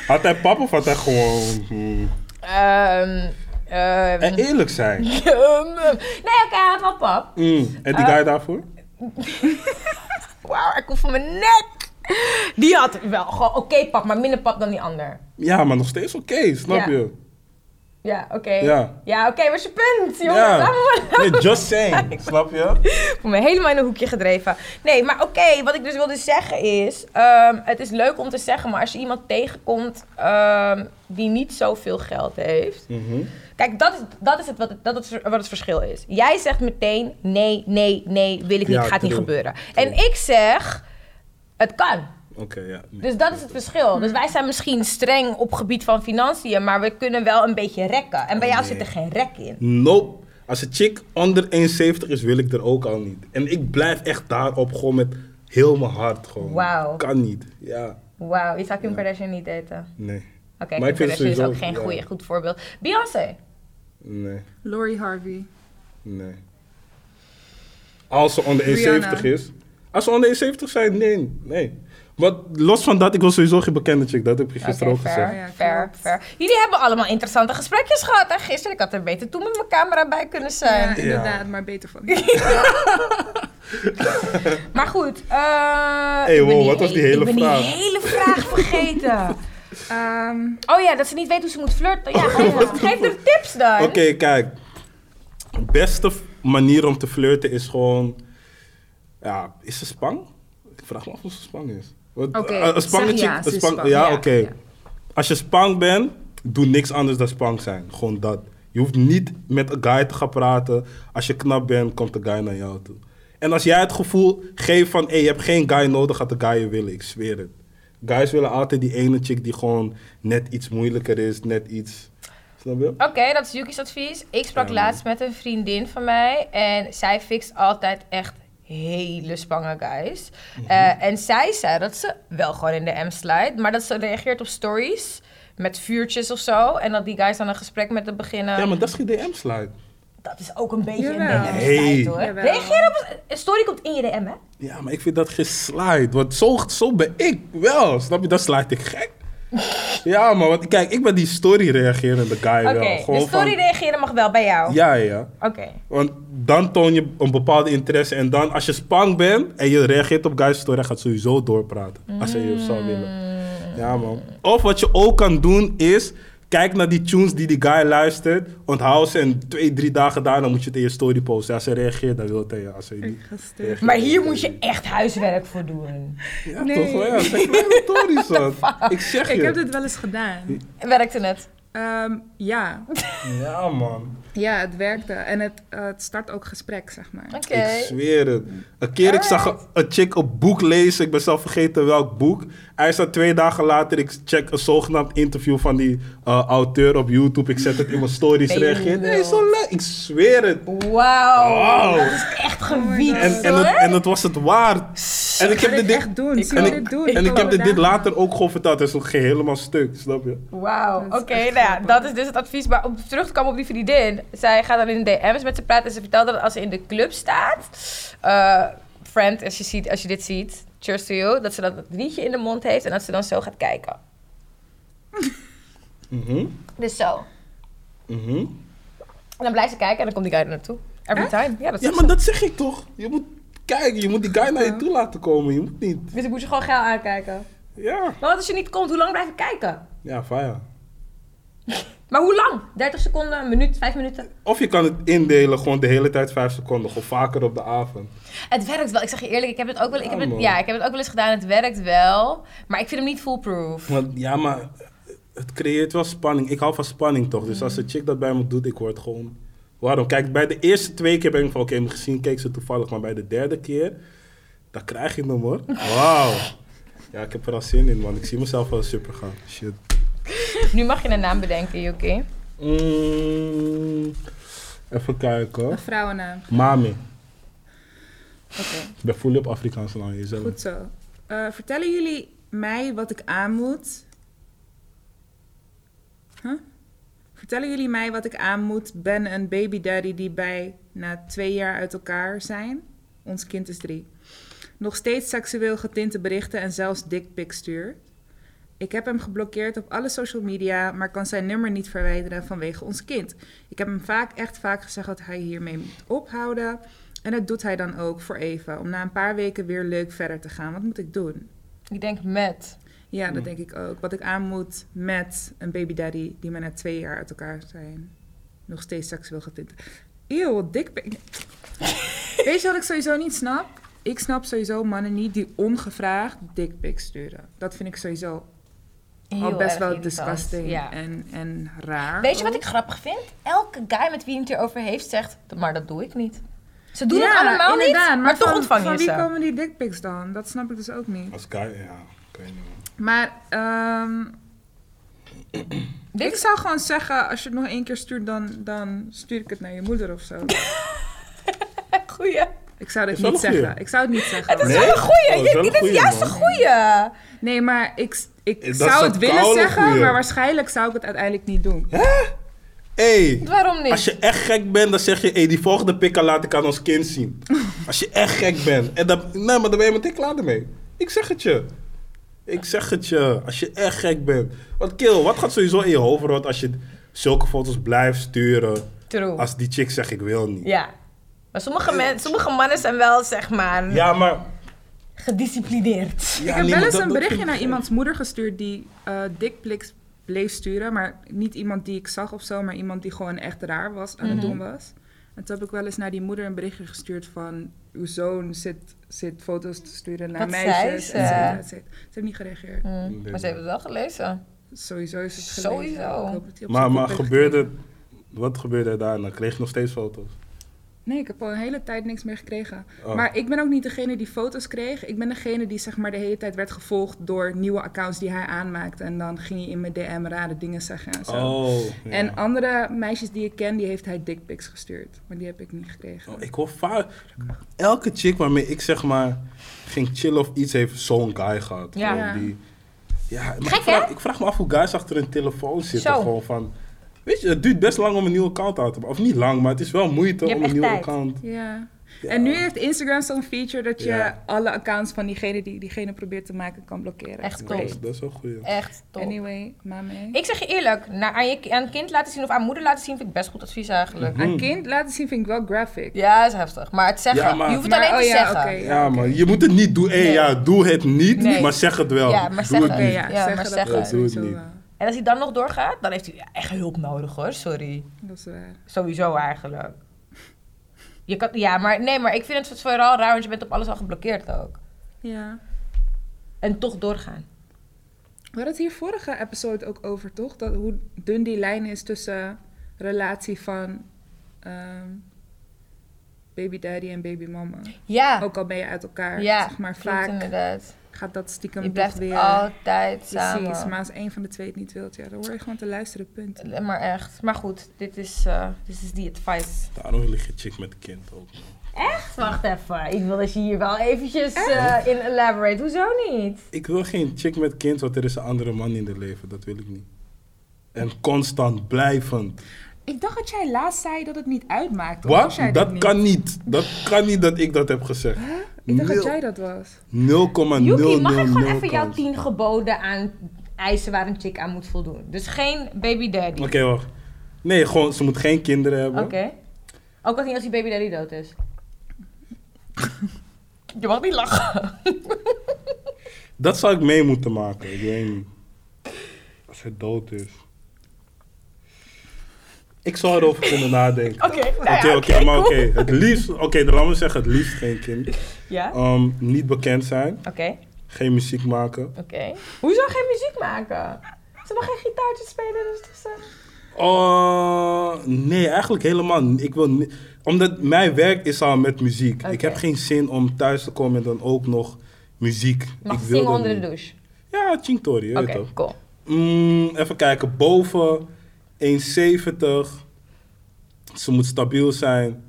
S2: had hij pap of had hij gewoon... hmm.
S1: Ehm, ehm,
S2: En eerlijk zijn.
S1: ehm, nee, oké, hij had wel pap.
S2: Mm. En
S1: Ah.
S2: die guy daarvoor?
S1: Wauw, ik hoef van mijn nek. Die had wel gewoon oké pap, maar minder pap dan die ander.
S2: Ja, maar nog steeds oké, snap
S1: Ja.
S2: je?
S1: Ja, oké.
S2: Ja.
S1: oké, wat is je punt, jongen?
S2: Ja.
S1: Laat me maar-
S2: Nee, just saying, snap je?
S1: Ik voel me helemaal in een hoekje gedreven. Nee, maar oké, wat ik dus wilde zeggen is... ehm, het is leuk om te zeggen, maar als je iemand tegenkomt ehm, die niet zoveel geld heeft...
S2: Mhm.
S1: Kijk, dat is, dat is het, wat, het, dat is wat het verschil is. Jij zegt meteen, nee, nee, nee, wil ik niet,
S2: Ja,
S1: gaat niet
S2: true.
S1: gebeuren.
S2: True.
S1: En ik zeg, het kan.
S2: Oké, ja. nee.
S1: Dus dat is het verschil.
S2: Mhm.
S1: Dus wij zijn misschien streng op gebied van financiën, maar we kunnen wel een beetje rekken. En bij jou
S2: Nee.
S1: zit er geen rek in.
S2: Nope. Als een chick onder 1,70 is, wil ik er ook al niet. En ik blijf echt daarop gewoon met heel mijn hart gewoon.
S1: Wauw.
S2: Kan niet. Ja,
S1: Wauw, je zou Kim Kardashian niet daten.
S2: nee.
S1: Oké,
S2: Maar
S1: Kim
S2: ik vind het
S1: Kardashian is ook
S2: sowieso-
S1: geen
S2: ja.
S1: goeie, goed voorbeeld. Beyoncé.
S2: Nee,
S3: Lori Harvey.
S2: nee. Als ze onder 1,70
S3: Rihanna.
S2: is. Als ze onder 1,70 zijn, nee, nee. Maar los van dat, ik wil sowieso geen bekende chick. Dat heb je gisteren
S1: Oké,
S2: ook gezegd.
S1: fair,
S3: Ja,
S1: fair,
S3: klopt.
S1: fair. Jullie hebben allemaal interessante gesprekjes gehad hè, gisteren. Ik had er beter toen met mijn camera bij kunnen zijn.
S3: Ja, inderdaad, maar beter van
S1: Maar goed. eh
S2: Hey,
S1: ik ben
S2: wow, wat was die hele
S1: ik ben
S2: vraag?
S1: die hele vraag vergeten.
S3: Ehm
S1: Oh ja, dat ze niet weet hoe ze moet flirten. Ja, geef, geef er tips dan.
S2: Oké, kijk. De beste f- manier om te flirten is gewoon... Ja, is ze spang? Ik vraag me af of ze spang is. Want,
S3: Oké,
S2: eh,
S3: zeg
S2: spangetje-
S3: ja, ze is spang.
S2: Ja,
S3: Ja,
S2: oké.
S3: ja.
S2: Als je spang bent, doe niks anders dan spang zijn. Gewoon dat. Je hoeft niet met een guy te gaan praten. Als je knap bent, komt de guy naar jou toe. En als jij het gevoel geeft van... Hey, je hebt geen guy nodig, gaat de guy je willen. Ik zweer het. Guys willen altijd die ene chick die gewoon net iets moeilijker is. Net iets... Snap je?
S1: Oké, dat is Yuki's advies. Ik sprak
S2: Ja.
S1: laatst met een vriendin van mij en zij fixt altijd echt hele spange guys.
S2: Mhm.
S1: Eh, en zij zei dat ze wel gewoon in de M slide, maar dat ze reageert op stories met vuurtjes of zo. En dat die guys dan een gesprek met hem beginnen.
S2: Ja, maar dat is geen DM-slide.
S1: Dat is ook een beetje
S3: Jawel.
S1: een DM-slide
S2: Nee.
S1: hoor.
S3: Jawel.
S1: Reageer op een- een story komt in je DM hè?
S2: Ja, maar ik vind dat geen slide. Want zo, zo ben ik wel. Snap je? Dat slide ik gek. ja, maar want, kijk, ik ben die story-reagerende guy
S1: Oké,
S2: wel.
S1: de
S2: Gewoon
S1: story
S2: van,
S1: reageren mag wel bij jou.
S2: Ja, ja.
S1: Oké.
S2: Want dan toon je een bepaalde interesse. En dan, als je spang bent en je reageert op guys' story, hij gaat sowieso doorpraten. Als hij je zou willen.
S3: Mm.
S2: Ja, man. Of wat je ook kan doen is. Kijk naar die tunes die die guy luistert. Onthoud ze en twee, drie dagen daarna moet je het in je story posten. Als hij reageert, dan wil het aan je. Als hij niet.
S3: ik ga stuk.
S2: reageert,
S1: Maar hier
S2: dan
S1: moet je echt huiswerk voor doen.
S2: Ja,
S3: Nee.
S2: toch wel. Ja, het zijn kleine tories, man. Ik zeg je.
S3: Ik heb dit wel eens gedaan.
S1: Werkte het?
S3: Ehm, ja.
S2: Ja, man.
S3: ja, het werkte. En het, eh, het start ook gesprek, zeg maar.
S1: Oké.
S2: Ik zweer het. Een keer ik zag een,
S1: Alright.
S2: een chick een boek lezen. Ik ben zelf vergeten welk boek. Hij staat twee dagen later. Ik check een zogenaamd interview van die eh, auteur op YouTube. Ik zet het in mijn stories
S1: Ben je Oh,
S2: reageer. Nee,
S1: wild.
S2: zo leuk. Ik zweer Ah. het.
S1: Wauw.
S2: Wauw.
S1: Dat is echt gewiet.
S2: En, en, het, en het was het waard. En ik
S3: Ga
S2: heb dit,
S3: dit echt doen.
S2: Ik,
S3: Zie
S2: en
S3: je
S2: ik,
S3: dit doen?
S2: en
S3: Ik
S2: ik heb
S3: wil
S2: dit, dit
S3: daar-
S2: later ook gewoon verteld. Het is nog geen helemaal stuk, snap je?
S1: Wauw,
S3: Dat
S1: oké,
S3: is echt
S1: nou ja,
S3: grappig.
S1: dat is dus het advies. Maar om terug te komen op die vriendin, zij gaat dan in de DM's met ze praten en ze vertelde dat als ze in de club staat, eh, friend, als je, ziet, als je dit ziet, cheers to you, dat ze dat rietje in de mond heeft en dat ze dan zo gaat kijken.
S2: Mhm.
S1: Dus zo.
S2: Mhm.
S3: Dus
S1: En dan blijft ze kijken en dan komt die guy er naartoe. Every time. Ja, dat
S2: Ja,
S1: is
S2: maar dat zeg ik toch? Je moet kijken, je moet die guy naar je toe laten komen. Je moet niet.
S1: Dus ik moet je gewoon geil aankijken.
S2: Ja.
S1: Maar wat als je niet komt, hoe lang blijf ik kijken?
S2: Ja, fire.
S1: Maar hoe lang? 30 seconden, een minuut, 5 minuten?
S2: Of je kan het indelen gewoon de hele tijd 5 seconden. Of vaker op de avond.
S1: Het werkt wel. Ik zeg je eerlijk, ik heb het ook wel, ik heb
S2: Ja,
S1: het,
S2: man.
S1: ja, ik heb het ook wel eens gedaan. Het werkt wel. Maar ik vind hem niet foolproof.
S2: Want ja, maar het creëert wel spanning. Ik hou van spanning toch? Dus als een chick dat bij me doet, ik word gewoon. Waarom? Kijk, bij de eerste twee keer ben ik van oké, mijn gezien keek ze toevallig. Maar bij de derde keer, dan krijg je hem hoor. Wauw. Ja, ik heb er al zin in, man. Ik zie mezelf wel super gaan. Shit.
S1: Nu mag je een naam bedenken, Yuki.
S2: Mm, even kijken hoor.
S3: Een vrouwennaam.
S2: Mami.
S3: Oké,
S2: Ik ben fully op Afrikaanse naam jezelf.
S3: goed zo. Eh, vertellen jullie mij wat ik aan moet? Huh? Vertellen jullie mij wat ik aan moet? Ben een baby daddy die bij na twee jaar uit elkaar zijn? Ons kind is drie. Nog steeds seksueel getinte berichten en zelfs dickpic stuurt. Ik heb hem geblokkeerd op alle social media, maar kan zijn nummer niet verwijderen vanwege ons kind. Ik heb hem vaak, echt vaak gezegd dat hij hiermee moet ophouden. En dat doet hij dan ook voor even, om na een paar weken weer leuk verder te gaan. Wat moet ik doen?
S1: Ik denk met.
S3: Ja, dat denk ik ook. Wat ik aan moet met een baby daddy die maar na twee jaar uit elkaar zijn. Nog steeds seksueel getint. Eeuw, wat dik. ben ik. Weet je wat ik sowieso niet snap? Ik snap sowieso mannen niet die ongevraagd dickpics sturen. Dat vind ik sowieso al
S1: Heel
S3: Oh, best
S1: erg
S3: wel
S1: irritant.
S3: disgusting Oh.
S1: Ja.
S3: en, en raar.
S1: Weet je wat ik grappig vind? Elke guy met wie hij het erover heeft zegt, maar dat doe ik niet. Ze doen het allemaal niet, maar, toch
S3: nou, van,
S1: ontvang je
S3: van wie
S1: ze.
S3: komen die dickpics dan? Dat snap ik dus ook niet.
S2: Als guy, ja. Ik weet niet, man.
S3: Maar ehm,
S1: Dit
S3: ik zou gewoon zeggen, als je het nog één keer stuurt, dan, dan stuur ik het naar je moeder of zo.
S1: is een goeie.
S3: Ik zou dit
S2: Is wel
S3: niet
S2: een goeie.
S3: zeggen. Ik zou het niet zeggen.
S1: Het is
S2: Nee?
S1: wel een goeie.
S2: Oh, het is wel een
S1: dit is
S2: goeie,
S1: juist
S2: man.
S1: een goeie.
S3: Nee, maar ik, ik
S2: Dat is
S3: zou
S2: een
S3: het willen
S2: koude
S3: zeggen,
S2: goeie.
S3: maar waarschijnlijk zou ik het uiteindelijk niet doen.
S2: Hey,
S1: Waarom niet?
S2: Als je echt gek bent, dan zeg je, hey, die volgende pikka laat ik aan ons kind zien. Als je echt gek bent. En dan, nee, maar dan ben je meteen klaar ermee. Ik zeg het je. Ik zeg het je. Als je echt gek bent. Want kill, wat gaat sowieso in je hoofd rond als je zulke foto's blijft sturen?
S1: True.
S2: Als die chick zegt, ik wil niet.
S1: Ja. Maar sommige, men, sommige mannen zijn wel, zeg maar,
S2: Ja, maar...
S1: gedisciplineerd.
S2: Ja,
S3: ik heb
S2: nee, maar
S3: wel eens
S2: dat- dat
S3: een berichtje
S2: vind
S3: naar
S2: ik-
S3: iemands moeder gestuurd die eh dickpics bleef sturen. Maar niet iemand die ik zag of zo, maar iemand die gewoon echt raar was
S2: Mhm.
S3: aan het doen was. En toen heb ik wel eens naar die moeder een berichtje gestuurd van... Uw zoon zit, zit foto's te sturen naar
S1: Wat zei
S3: meisjes.
S1: ze?
S3: et cetera, et cetera. Ze heeft niet gereageerd.
S2: Nee,
S1: Mm. Maar ze hebben het wel gelezen.
S3: Sowieso is het gelezen.
S1: Sowieso.
S3: Ik hoop dat die op
S2: Maar,
S3: zijn
S2: maar
S3: kop heeft
S2: gebeurde...
S3: gekregen.
S2: Wat gebeurde er daarna? Kreeg je nog steeds foto's?
S3: Nee, ik heb al een hele tijd niks meer gekregen.
S2: Oh.
S3: Maar ik ben ook niet degene die foto's kreeg. Ik ben degene die zeg maar de hele tijd werd gevolgd door nieuwe accounts die hij aanmaakte. En dan ging hij in mijn DM rare dingen zeggen en zo.
S2: Oh. ja.
S3: En andere meisjes die ik ken, die heeft hij dickpics gestuurd. Maar die heb ik niet gekregen.
S2: Oh, ik hoor vaak... Elke chick waarmee ik zeg maar ging chillen of iets, heeft zo'n guy gehad.
S1: Ja.
S2: Gewoon Die, ja maar
S1: Gek,
S2: ik, vraag, ik vraag me af hoe guys achter hun telefoon zitten.
S1: Zo.
S2: Gewoon van... Weet je, het duurt best lang om een nieuwe account aan te maken. Of niet lang, maar het is wel moeite
S1: Je hebt
S2: om een
S1: echt
S2: nieuwe
S1: tijd.
S2: account...
S3: Ja.
S2: Ja.
S3: En nu heeft Instagram zo'n feature dat je
S2: Ja.
S3: alle accounts van diegene die diegene probeert te maken kan blokkeren.
S1: Echt
S2: Ja,
S1: cool.
S2: dat, dat is wel goed.
S1: Echt top.
S3: Anyway, mame.
S1: Ik zeg je eerlijk, naar, aan, je, aan kind laten zien of aan moeder laten zien vind ik best goed advies eigenlijk.
S2: Mhm. Hmm.
S3: Aan kind laten zien vind ik wel graphic.
S1: Ja, is heftig. Maar het zeggen,
S2: Ja, maar-
S1: je hoeft het
S3: Maar-
S1: alleen te
S3: oh ja,
S1: zeggen.
S3: oké.
S2: Ja, maar je moet het niet doen. Hé,
S1: Nee.
S2: ja, doe het niet,
S1: Nee.
S2: maar zeg het wel.
S1: Ja, maar
S2: doe
S1: zeg
S2: het
S1: het.
S3: Oké,
S2: niet.
S3: ja,
S1: Ja,
S3: zeggen
S1: maar
S3: dat
S1: zeggen.
S3: kan
S2: Ja, doe het
S3: sowieso
S2: niet.
S3: wel.
S1: En als hij dan nog doorgaat, dan heeft hij ja, echt hulp nodig hoor, sorry.
S3: Dat is waar.
S1: Sowieso eigenlijk. Je kan, ja, maar nee, maar ik vind het vooral raar, want je bent op alles al geblokkeerd ook.
S3: Ja.
S1: En toch doorgaan.
S3: We hadden het hier vorige episode ook over, toch? Dat hoe dun die lijn is tussen relatie van ehm, baby daddy en baby mama.
S1: Ja,
S3: Ook al ben je uit elkaar,
S1: ja
S3: zeg maar
S1: klopt
S3: vaak
S1: inderdaad.
S3: gaat dat stiekem
S1: Je
S3: toch
S1: blijft
S3: weer.
S1: altijd samen.
S3: Precies, maar als één van de twee het niet wilt, ja, dan hoor je gewoon te luisteren, punt.
S1: Maar echt. Maar goed, dit is, eh, dit is die advice.
S2: Daarom lig je chick met kind ook.
S1: Echt? Wacht even. Ik wil dat je hier wel eventjes eh, in elaborate. Hoezo niet?
S2: Ik wil geen chick met kind, want er is een andere man in het leven. Dat wil ik niet. En constant, blijvend.
S3: Ik dacht dat jij laatst zei dat het niet uitmaakt. of was
S2: Wat?
S3: jij
S2: Dat
S3: niet?
S2: kan niet. Dat kan niet dat ik dat heb gezegd.
S3: Ik dacht dat
S2: Nul-
S3: jij dat was.
S2: 0,000
S1: Yuki, mag ik gewoon even jouw
S2: kans.
S1: tien geboden aan eisen waar een chick aan moet voldoen? Dus geen baby daddy.
S2: Oké, wacht. Nee, gewoon, ze moet geen kinderen hebben.
S1: Oké. Ook al niet als die baby daddy dood is. Je mag niet lachen.
S2: Dat zou ik mee moeten maken. Ik weet niet. Als hij dood is. Ik zou erover kunnen nadenken.
S1: Oké, nou ja,
S2: Oké, oké,
S1: oké,
S2: maar oké.
S1: cool.
S2: Het liefst, oké, dan laten we zeggen het liefst geen kind.
S1: Ja? Oké,
S2: Ehm, niet bekend zijn,
S1: oké.
S2: geen muziek maken.
S1: Hoezo geen muziek maken? Ze mag geen gitaartje spelen, dus toch ze...
S2: Oh, nee, eigenlijk helemaal niet. Ik wil ni- Omdat mijn werk is al met muziek. Ik
S1: Oké.
S2: heb geen zin om thuis te komen en dan ook nog muziek.
S1: Mag
S2: ik
S1: ze
S2: wil
S1: zingen
S2: dat
S1: onder de
S2: niet.
S1: douche.
S2: Ja, Chintori, je
S1: Oké,
S2: weet toch.
S1: cool.
S2: Mm, even kijken, boven 170. Ze moet stabiel zijn.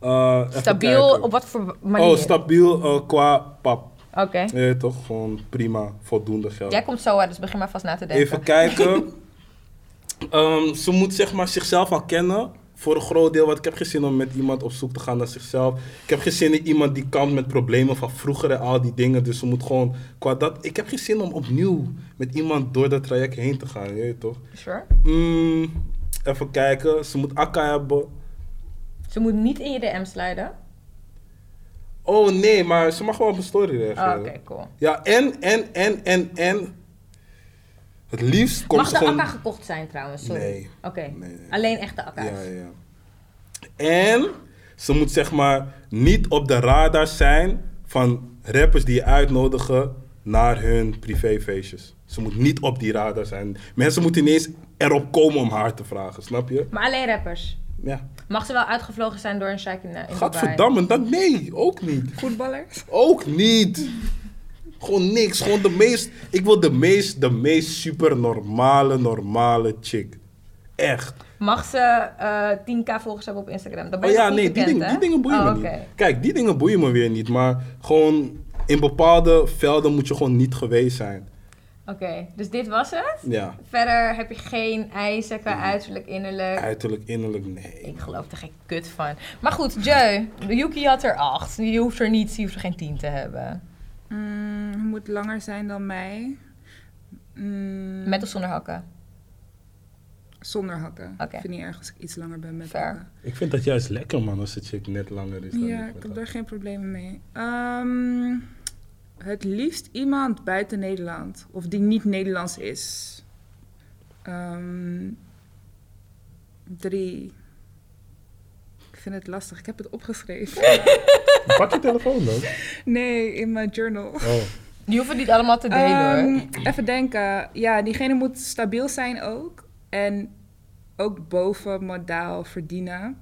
S2: Eh, even
S1: Stabiel,
S2: kijken.
S1: op wat voor manier?
S2: Oh, stabiel eh, qua pap.
S1: Oké.
S2: Je weet toch, gewoon prima, voldoende geld.
S1: Jij komt zo uit, dus begin maar vast na te denken.
S2: Oh. Even kijken. Ehm, ze moet zeg maar zichzelf al kennen. Voor een groot deel, want ik heb geen zin om met iemand op zoek te gaan naar zichzelf. Ik heb geen zin in iemand die kampt met problemen van vroeger en al die dingen. Dus ze moet gewoon qua dat. Ik heb geen zin om opnieuw met iemand door dat traject heen te gaan. Je weet toch?
S1: Sure.
S2: Mm, even kijken. Ze moet akka hebben.
S1: Ze moet niet in je DM sliden.
S2: Oh nee, maar ze mag wel op mijn story
S1: Oh,
S2: reageren.
S1: Oké, cool.
S2: Ja, en, en, en, en, en. Het liefst komt
S1: Mag
S2: ze
S1: de
S2: gewoon...
S1: akka gekocht zijn trouwens? Sorry.
S2: Nee.
S1: Oké.
S2: Nee, nee.
S1: Alleen echte akka's.
S2: Ja, ja. En ze moet zeg maar niet op de radar zijn van rappers die je uitnodigen naar hun privéfeestjes. Ze moet niet op die radar zijn. Mensen moeten ineens erop komen om haar te vragen, snap je?
S1: Maar alleen rappers.
S2: Ja.
S1: Mag ze wel uitgevlogen zijn door een sheik in, eh, in Dubai?
S2: Gadverdamme, dat nee, ook niet.
S3: Voetballers?
S2: Ook niet. Gewoon niks. Gewoon de meest. Ik wil de meest, de meest super normale, normale chick. Echt.
S1: Mag ze eh, 10k volgers hebben op Instagram? Dat ben
S2: Oh
S1: je
S2: ja,
S1: nog
S2: nee,
S1: niet
S2: die,
S1: bekend,
S2: ding-
S1: hè?
S2: die dingen boeien
S1: Oh,
S2: me
S1: oké.
S2: niet. Kijk, die dingen boeien me weer niet. Maar gewoon in bepaalde velden moet je gewoon niet geweest zijn.
S1: Oké, dus dit was het.
S2: Ja.
S1: Verder heb je geen eisen qua
S2: Mm-hmm.
S1: uiterlijk, innerlijk.
S2: Uiterlijk, innerlijk, nee.
S1: Ik geloof er geen kut van. Maar goed, Jeu, Yuki had er acht. Je hoeft er niet, je hoeft er geen tien te hebben.
S3: Mm, moet langer zijn dan mij. Mm,
S1: Met of zonder hakken.
S3: Zonder hakken.
S1: Oké.
S3: Ik vind het niet erg als ik iets langer ben met
S1: Fair.
S3: hakken.
S2: Ik vind dat juist lekker, man, als de chick net langer is dan
S3: Ja,
S2: ik.
S3: ik
S2: met
S3: heb
S2: haar.
S3: daar geen problemen mee. Ehm, het liefst iemand buiten Nederland. Of die niet Nederlands is. Ehm, drie. Ik vind het lastig. Ik heb het opgeschreven.
S2: Pak je telefoon dan.
S3: Nee, in mijn journal.
S2: Oh.
S1: Die hoeven niet allemaal te delen hoor.
S3: Ehm, even denken. Ja, diegene moet stabiel zijn ook. En ook boven modaal verdienen.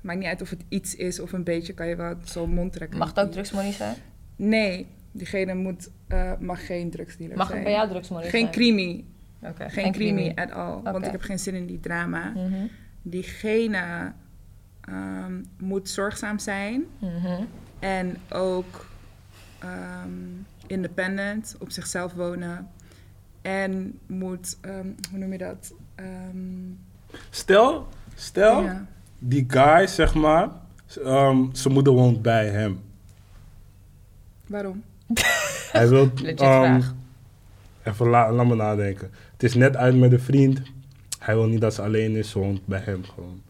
S3: Maakt niet uit of het iets is of een beetje. Kan je wel zo'n mond trekken.
S1: Mag het ook drugsmoney zijn?
S3: Nee, diegene moet, eh, mag geen drugsdealer
S1: Mag
S3: zijn.
S1: het bij jou drugsmoney zijn?
S3: Geen crimi.
S1: Oké,
S3: Geen, crimi at all. Want
S1: Oké.
S3: ik heb geen zin in die drama.
S1: Mhm,
S3: Diegene ehm, moet zorgzaam zijn.
S1: mhm.
S3: En ook ehm, independent, op zichzelf wonen. En moet, ehm, hoe noem je dat? Ehm,
S2: Stel, stel,
S3: ja.
S2: die guy, zeg maar, z- ehm, zijn moeder woont bij hem.
S3: Waarom?
S2: Hij wil.
S1: Legit
S2: ehm,
S1: vraag.
S2: Even la, laat me nadenken. Het is net uit met een vriend. Hij wil niet dat ze alleen is, ze woont bij hem gewoon.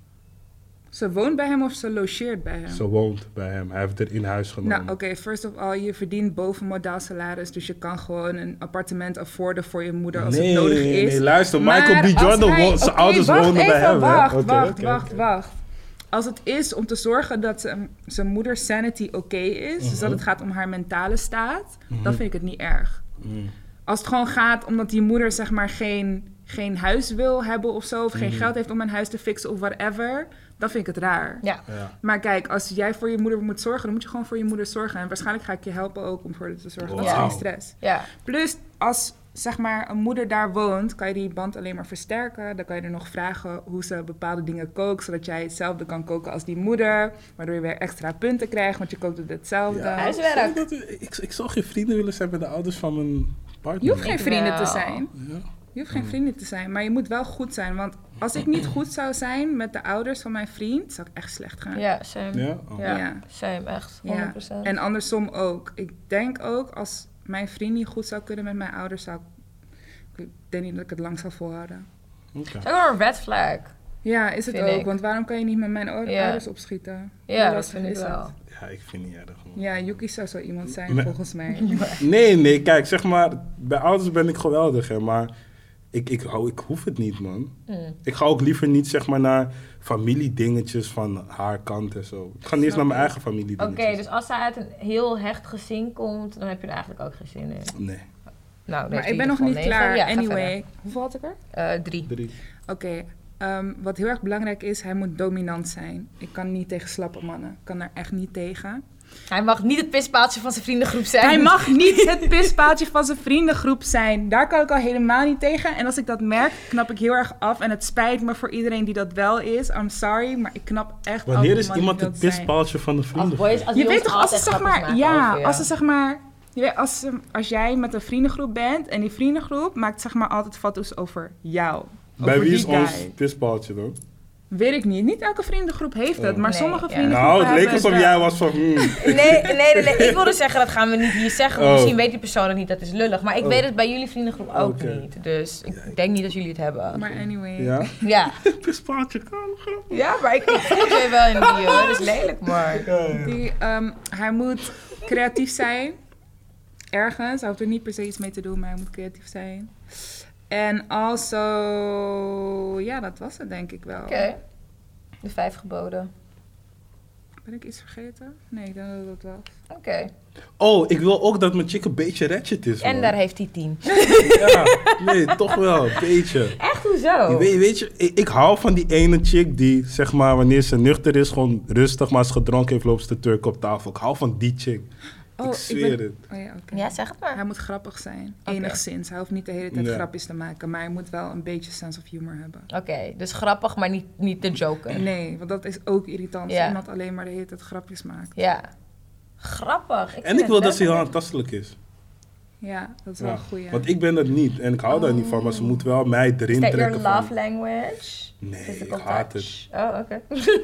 S3: Ze woont bij hem of ze logeert bij hem?
S2: Ze woont bij hem. Hij heeft er in huis genomen.
S3: Nou, oké, first of all, je verdient boven modaal salaris, dus je kan gewoon een appartement afforden voor je moeder als het nodig is.
S2: nee, luister.
S3: Maar
S2: Michael B.
S3: als
S2: Jordan,
S3: hij-
S2: wo- zijn
S3: oké,
S2: ouders
S3: wacht
S2: wonen bij
S3: even,
S2: hem. hè?
S3: Wacht,
S2: Oké,
S3: wacht,
S2: oké,
S3: wacht,
S2: oké.
S3: wacht. Als het is om te zorgen dat ze- zijn moeder sanity oké is, dus
S2: Mhm.
S3: dat het gaat om haar mentale staat, dan vind ik het niet erg.
S2: Mm.
S3: Als het gewoon gaat omdat die moeder zeg maar geen, geen huis wil hebben of zo, of
S2: Mhm.
S3: geen geld heeft om een huis te fixen of whatever, dan vind ik het raar.
S1: Ja,
S2: Ja.
S3: Maar kijk, als jij voor je moeder moet zorgen, dan moet je gewoon voor je moeder zorgen. En waarschijnlijk ga ik je helpen ook om voor haar te zorgen. Dat is
S2: Wauw.
S3: geen stress.
S1: ja.
S3: Plus, als zeg maar een moeder daar woont, kan je die band alleen maar versterken. Dan kan je er nog vragen hoe ze bepaalde dingen kookt, zodat jij hetzelfde kan koken als die moeder. Waardoor je weer extra punten krijgt, want je kookt het hetzelfde.
S2: Ja.
S1: Huiswerk.
S2: Ik zou dat- Ik, ik zou geen vrienden willen zijn met de ouders van mijn partner.
S3: Je hoeft geen vrienden
S1: Wel.
S3: te zijn.
S2: Ja.
S3: Je
S2: Mm.
S3: hoeft geen vrienden te zijn, maar je moet wel goed zijn. Want als ik niet goed zou zijn met de ouders van mijn vriend, zou ik echt slecht gaan.
S1: Ja, same.
S2: Ja? Oh.
S1: Ja.
S3: Ja.
S1: Same, echt. 100%.
S3: Ja, en andersom ook. Ik denk ook als mijn vriend niet goed zou kunnen met mijn ouders, zou ik... ik denk niet dat ik het lang zou volhouden.
S2: Oké.
S1: Het is ook wel een red flag.
S3: Ja, is het
S1: Vind
S3: ook.
S1: ik.
S3: Want waarom kan je niet met mijn o-
S1: Ja.
S3: ouders opschieten?
S1: Ja,
S3: Hoe
S1: dat
S3: lastig
S1: vind ik
S3: is
S1: wel.
S3: het?
S2: Ja, ik vind het niet erg. man.
S3: Ja, Yuki zou zo iemand zijn,
S2: Me-
S3: volgens mij.
S2: Nee, nee, kijk, zeg maar, bij ouders ben ik geweldig, hè, maar ik, ik, hou, ik hoef het niet, man.
S1: Mm.
S2: Ik ga ook liever niet, zeg maar, naar familiedingetjes van haar kant en zo. Ik ga niet eens naar mijn eigen
S1: Oké,
S2: familiedingetjes.
S1: dus als zij uit een heel hecht gezin komt, dan heb je er eigenlijk ook geen zin in.
S3: dus-
S2: Nee,
S1: Nou,
S3: Maar ik ben nog niet klaar. anyway, hoeveel had ik er?
S1: Eh, drie.
S2: drie.
S3: Oké, ehm, wat heel erg belangrijk is, hij moet dominant zijn. Ik kan niet tegen slappe mannen. Ik kan daar echt niet tegen.
S1: Hij mag niet het pispaaltje van zijn vriendengroep zijn.
S3: Hij mag niet het pispaaltje van zijn vriendengroep zijn. Daar kan ik al helemaal niet tegen. En als ik dat merk, knap ik heel erg af. En het spijt me voor iedereen die dat wel is. I'm sorry, maar ik knap echt af
S2: Wanneer
S3: voor
S2: is
S3: mannen
S2: iemand
S3: die
S2: het
S3: dat zijn.
S2: pispaaltje van de
S1: Als
S2: vrienden?
S1: boys, als
S3: Je
S1: jongens
S3: weet toch, als ze
S1: altijd
S3: zeg
S1: grapjes
S3: maar,
S1: maken
S3: ja,
S1: over je.
S3: als ze zeg maar, je weet, als, ze- als jij met een vriendengroep bent en die vriendengroep maakt zeg maar altijd foto's over jou.
S2: Bij
S3: over
S2: wie
S3: die
S2: is ons
S3: guy.
S2: pispaaltje dan?
S3: Weet ik niet. Niet elke vriendengroep heeft dat,
S2: Oh.
S3: maar
S1: Nee,
S3: sommige
S1: ja.
S3: vriendengroepen
S2: Nou, het leek
S3: hebben
S2: alsof
S3: wel.
S2: jij was van... hmm.
S1: Nee, nee, nee, nee. Ik wilde zeggen, dat gaan we niet hier zeggen. Want
S2: Oh.
S1: Misschien weet die persoon het niet, dat is lullig. Maar ik
S2: Oh.
S1: weet het bij jullie vriendengroep ook
S2: Oké.
S1: niet. Dus ik denk niet dat jullie het hebben.
S3: Maar anyway.
S2: Ja?
S1: Ja.
S2: Pispaaltje kan, grap.
S1: ja, maar ik ik voel je wel in die hoor. Dat is lelijk, maar...
S2: Ja, ja.
S3: Die, ehm, hij moet creatief zijn. Ergens. Hij hoeft er niet per se iets mee te doen, maar hij moet creatief zijn. En also... Ja, dat was het denk ik wel.
S1: Oké. De vijf geboden.
S3: Ben ik iets vergeten? Nee, ik denk dat het dat was.
S1: Oké.
S2: Oh, ik wil ook dat mijn chick een beetje ratchet is,
S1: En
S2: man.
S1: daar heeft hij tien.
S2: Ja, nee, toch wel, een beetje.
S1: Echt, hoezo?
S2: Weet, weet je, ik, ik hou van die ene chick die, zeg maar, wanneer ze nuchter is, gewoon rustig, maar als ze gedronken heeft, loopt ze te turken op tafel. Ik hou van die chick. ik zweer
S3: ben-
S2: het.
S3: Oh ja, oké.
S1: Ja, zeg het
S3: Hij
S1: maar.
S3: moet grappig zijn.
S1: Oké.
S3: Enigszins. Hij hoeft niet de hele tijd
S2: Ja.
S3: grapjes te maken, maar hij moet wel een beetje sense of humor hebben.
S1: Oké, dus grappig, maar niet, niet de joker.
S3: Nee, want dat is ook irritant. als
S1: Ja.
S3: Iemand alleen maar de hele tijd grapjes maakt.
S1: Ja. Grappig.
S2: En ik wil dat ze heel aantastelijk is.
S3: Ja, dat is wel
S2: Ja,
S3: een goeie.
S2: Want ik ben dat niet en ik hou daar niet van, maar ze moet wel mij erin
S1: Is dat your
S2: trekken. van-
S1: love language?
S2: Nee,
S1: Physical
S2: ik haat
S1: touch? Oh, oké.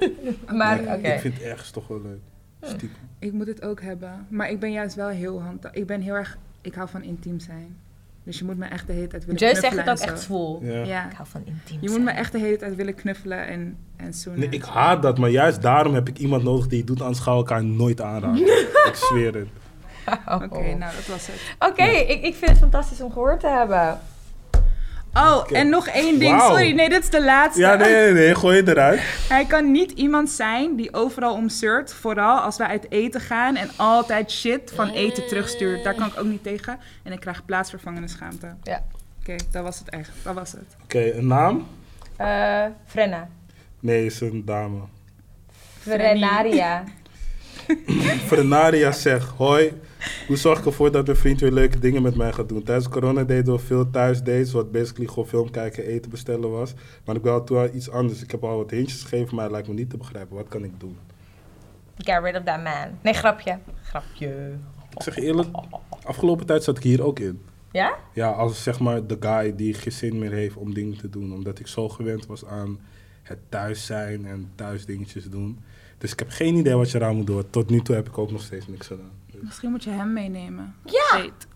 S1: maar,
S2: Nee,
S1: oké.
S2: Ik vind het ergens toch wel leuk. Stiekem.
S3: Ik moet het ook hebben. Maar ik ben juist wel heel handig. Ik ben heel erg... Ik hou van intiem zijn. Dus je moet me echt de hele tijd willen
S1: Joyce zegt
S3: knuffelen
S1: het ook
S3: en
S1: echt
S3: zo.
S1: zwoel.
S2: Ja.
S3: Ja.
S1: Ik hou van intiem
S3: Je moet
S1: zijn.
S3: me echt de hele tijd willen knuffelen en, en zoenen.
S2: Nee, ik haat dat, maar juist daarom heb ik iemand nodig die het doet, anders gaan we elkaar nooit aanraken. ik zweer het.
S1: Oh.
S3: Oké, nou dat was het.
S1: Oké, ik, ik vind het fantastisch om gehoord te hebben.
S3: Oh, en nog één ding.
S2: Wauw.
S3: Sorry, nee, dit is de laatste.
S2: Ja, nee, nee, nee, gooi het eruit.
S3: Hij kan niet iemand zijn die overal omzeurt. Vooral als wij uit eten gaan en altijd shit van eten terugstuurt. Daar kan ik ook niet tegen. En ik krijg plaatsvervangende schaamte. Oké,
S1: Ja.
S3: dat was het echt. Dat was het.
S2: Oké, een naam?
S1: Eh, Frenna.
S2: Nee, is een dame.
S1: Frenaria.
S2: Frenaria zegt, hoi, hoe zorg ik ervoor dat mijn vriend weer leuke dingen met mij gaat doen? Tijdens corona deden we veel thuisdates, wat basically gewoon film kijken, eten bestellen was. Maar ik wil toe aan iets anders. Ik heb al wat hintjes gegeven, maar het lijkt me niet te begrijpen. Wat kan ik doen?
S1: Get rid of that man. Nee, grapje. Grapje.
S2: Ik zeg je eerlijk, afgelopen tijd zat ik hier ook in.
S1: Ja?
S2: Ja, als zeg maar de guy die geen zin meer heeft om dingen te doen. Omdat ik zo gewend was aan het thuis zijn en thuis dingetjes doen. Dus ik heb geen idee wat je eraan moet doen. Tot nu toe heb ik ook nog steeds niks gedaan.
S3: Misschien moet je hem meenemen.
S1: Ja.
S3: Date.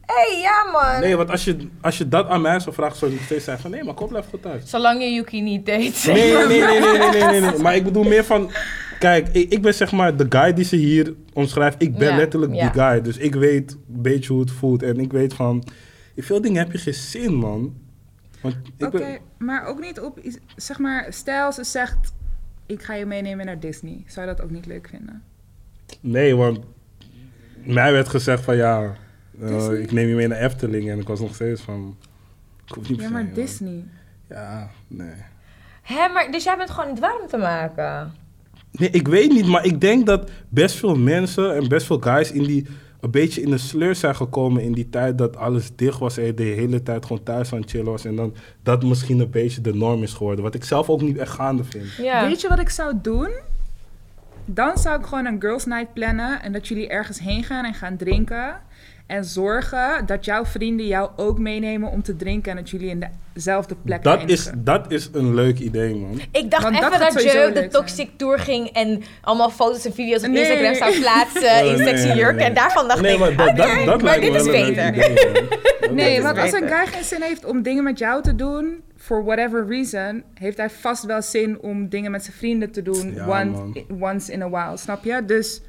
S1: hey, ja man.
S2: Nee, want als je, als je dat aan mij zou vragen, zou ik nog steeds zeggen van nee, maar kom blijf goed thuis.
S1: Zolang je Yuki niet date.
S2: Nee, nee, nee, nee, nee, nee, nee, nee, nee. Maar ik bedoel meer van, kijk, ik, ik ben zeg maar de guy die ze hier omschrijft. Ik ben
S1: Ja,
S2: letterlijk
S1: ja.
S2: die guy, dus ik weet een beetje hoe het voelt. En ik weet van, in veel dingen heb je geen zin, man. Want ik
S3: Oké,
S2: ben-
S3: maar ook niet op... iets- Zeg maar, stel ze zegt... Ik ga je meenemen naar Disney. Zou je dat ook niet leuk vinden?
S2: nee, want mij werd gezegd van ja, eh,
S3: Disney?
S2: ik neem je mee naar Efteling. En ik was nog steeds van, ik hoef niet
S3: Ja,
S2: per se,
S3: maar
S2: man.
S3: Disney.
S2: Ja, nee.
S1: Hè, maar dus jij bent gewoon niet warm te maken.
S2: Nee, ik weet niet, maar ik denk dat best veel mensen en best veel guys in die een beetje in de sleur zijn gekomen in die tijd dat alles dicht was en je de hele tijd gewoon thuis aan het chillen was en dan dat misschien een beetje de norm is geworden, wat ik zelf ook niet echt gaande vind.
S1: Ja.
S3: Weet je wat ik zou doen? Dan zou ik gewoon een girls night plannen en dat jullie ergens heen gaan en gaan drinken. En zorgen dat jouw vrienden jou ook meenemen om te drinken en dat jullie in dezelfde plek
S2: Dat is,
S3: eindigen.
S2: dat is een leuk idee, man.
S1: Ik dacht
S3: Want dat
S1: even
S3: gaat
S1: dat,
S3: sowieso
S1: Joe de
S3: leuk
S1: toxic tour ging en allemaal foto's en video's op
S3: Nee.
S1: Instagram zou plaatsen
S2: Eh,
S1: in
S2: nee,
S1: sexy
S2: nee,
S1: jurk.
S2: nee.
S1: En daarvan dacht
S2: Nee,
S1: ik,
S2: maar
S3: Oh,
S2: dat, dat,
S1: oké,
S2: dat
S1: maar
S2: lijkt me
S1: dit is
S2: wel een leuk
S1: beter.
S2: idee, man. Dat lijkt me
S3: Nee,
S2: wel
S3: want als
S1: beter.
S3: een guy geen zin heeft om dingen met jou te doen, for whatever reason, heeft hij vast wel zin om dingen met zijn vrienden te doen.
S2: Ja, man.
S3: want, i- once in a while, snap je? Dus,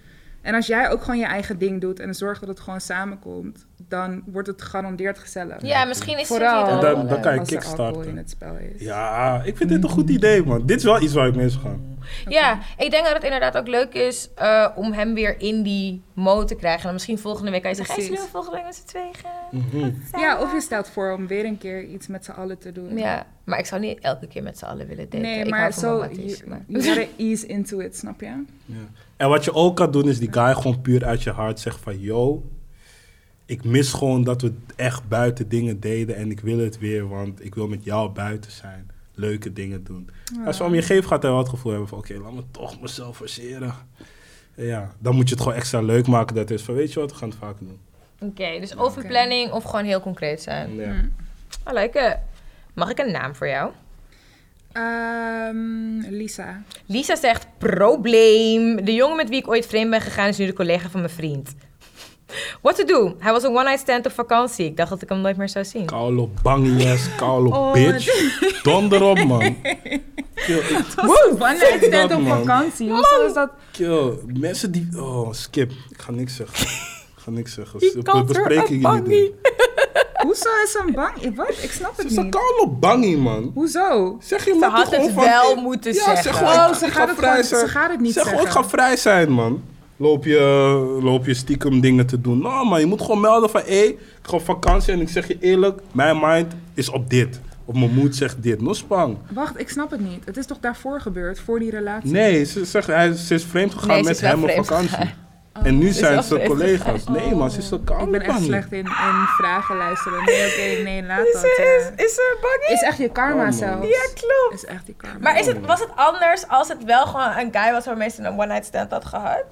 S3: en als jij ook gewoon je eigen ding doet en zorgt dat het gewoon samenkomt, dan wordt het gegarandeerd gezellig.
S1: Ja, misschien is
S3: Vooral
S1: het
S2: En
S1: hier
S2: dan-
S1: wel,
S2: dan
S1: eh,
S2: kan je
S3: als er alcohol
S2: kickstarten.
S3: in het spel is.
S2: Ja, ik vind dit een goed idee, man. Dit is wel iets waar ik mee zou gaan.
S1: Ja, ik denk dat het inderdaad ook leuk is eh, om hem weer in die mode te krijgen. En dan misschien volgende week kan je zeggen, hey,
S3: Precies.
S1: zullen we volgende week met z'n tweeën gaan?
S3: Ja, of je stelt voor om weer een keer iets met z'n allen te doen.
S1: Ja, maar ik zou niet elke keer met z'n allen willen daten.
S3: Nee,
S1: ik
S3: maar
S1: hou van
S3: zo,
S1: romantisch,
S3: you,
S1: maar-
S3: you gotta ease into it, snap je?
S2: En wat je ook kan doen, is die guy gewoon puur uit je hart zeggen van... Yo, ik mis gewoon dat we echt buiten dingen deden en ik wil het weer, want ik wil met jou buiten zijn. Leuke dingen doen. Als je om je geef gaat, hij wel het gevoel hebben van... Oké, laat me toch mezelf verseren. Ja, dan moet je het gewoon extra leuk maken dat het is van... Weet je wat, we gaan het vaker doen.
S1: Oké, dus of een planning of gewoon heel concreet zijn.
S2: Ja.
S1: I like it. Ah, Mag ik een naam voor jou?
S3: Ehm, Lisa.
S1: Lisa zegt, probleem. De jongen met wie ik ooit vreemd ben gegaan is nu de collega van mijn vriend. What to do? Hij was een one-night stand op vakantie. Ik dacht dat ik hem nooit meer zou zien.
S2: Kaulo bangjes, kaulo bitch. Donder op, man. Kill,
S3: Woe, wanneer is
S2: dat,
S3: dit op
S2: man.
S3: vakantie? Hoezo is dat?
S2: kill. Mensen die... Oh, skip. Ik ga niks zeggen. Ik ga niks zeggen.
S1: Je kan er
S2: Besprekingen
S1: een
S2: niet doen.
S3: Hoezo is een bang? Ik- Wat? Ik snap
S2: Ze
S3: het
S2: is een
S3: niet.
S2: kaulo bangie, man.
S3: Hoezo?
S2: Zeg je maar
S1: had
S2: toch gewoon
S1: het
S2: van-
S1: wel moeten
S2: ja,
S1: zeggen.
S2: Zeg gewoon,
S3: Oh,
S2: ik-
S3: ze
S2: ik
S3: gaat
S2: ga
S3: het
S2: vrij
S3: gewoon-
S2: zijn.
S3: ze gaat het niet
S2: zeg gewoon, ik
S3: zeggen.
S2: ga vrij zijn, man. Loop je, loop je stiekem dingen te doen. Nou, man, je moet gewoon melden van... Hé, ik ga op vakantie en ik zeg je eerlijk... Mijn mind is op dit. Of mijn moed zegt dit. No spang.
S3: Wacht, ik snap het niet. Het is toch daarvoor gebeurd, voor die relatie?
S2: Nee, ze, zegt, hij, ze is vreemd gegaan
S1: Nee, ze
S2: met
S1: is wel
S2: hem op
S1: vreemd Oh,
S2: vakantie. en nu
S1: is wel
S2: zijn ze
S1: vreemd Oh.
S2: collega's. Nee, man, ze is een
S3: Ik
S2: koude
S3: ben echt
S2: bang.
S3: slecht in, in vragen luisteren. Nee, oké, nee, laat dat. eh.
S1: is ze bang?
S3: Is echt je
S2: Oh,
S3: karma
S2: man.
S3: zelfs.
S1: klopt.
S3: Is echt die karma.
S1: Maar is
S2: Oh.
S1: het, was het anders als het wel gewoon een guy was waarmee ze een one-night stand had gehad?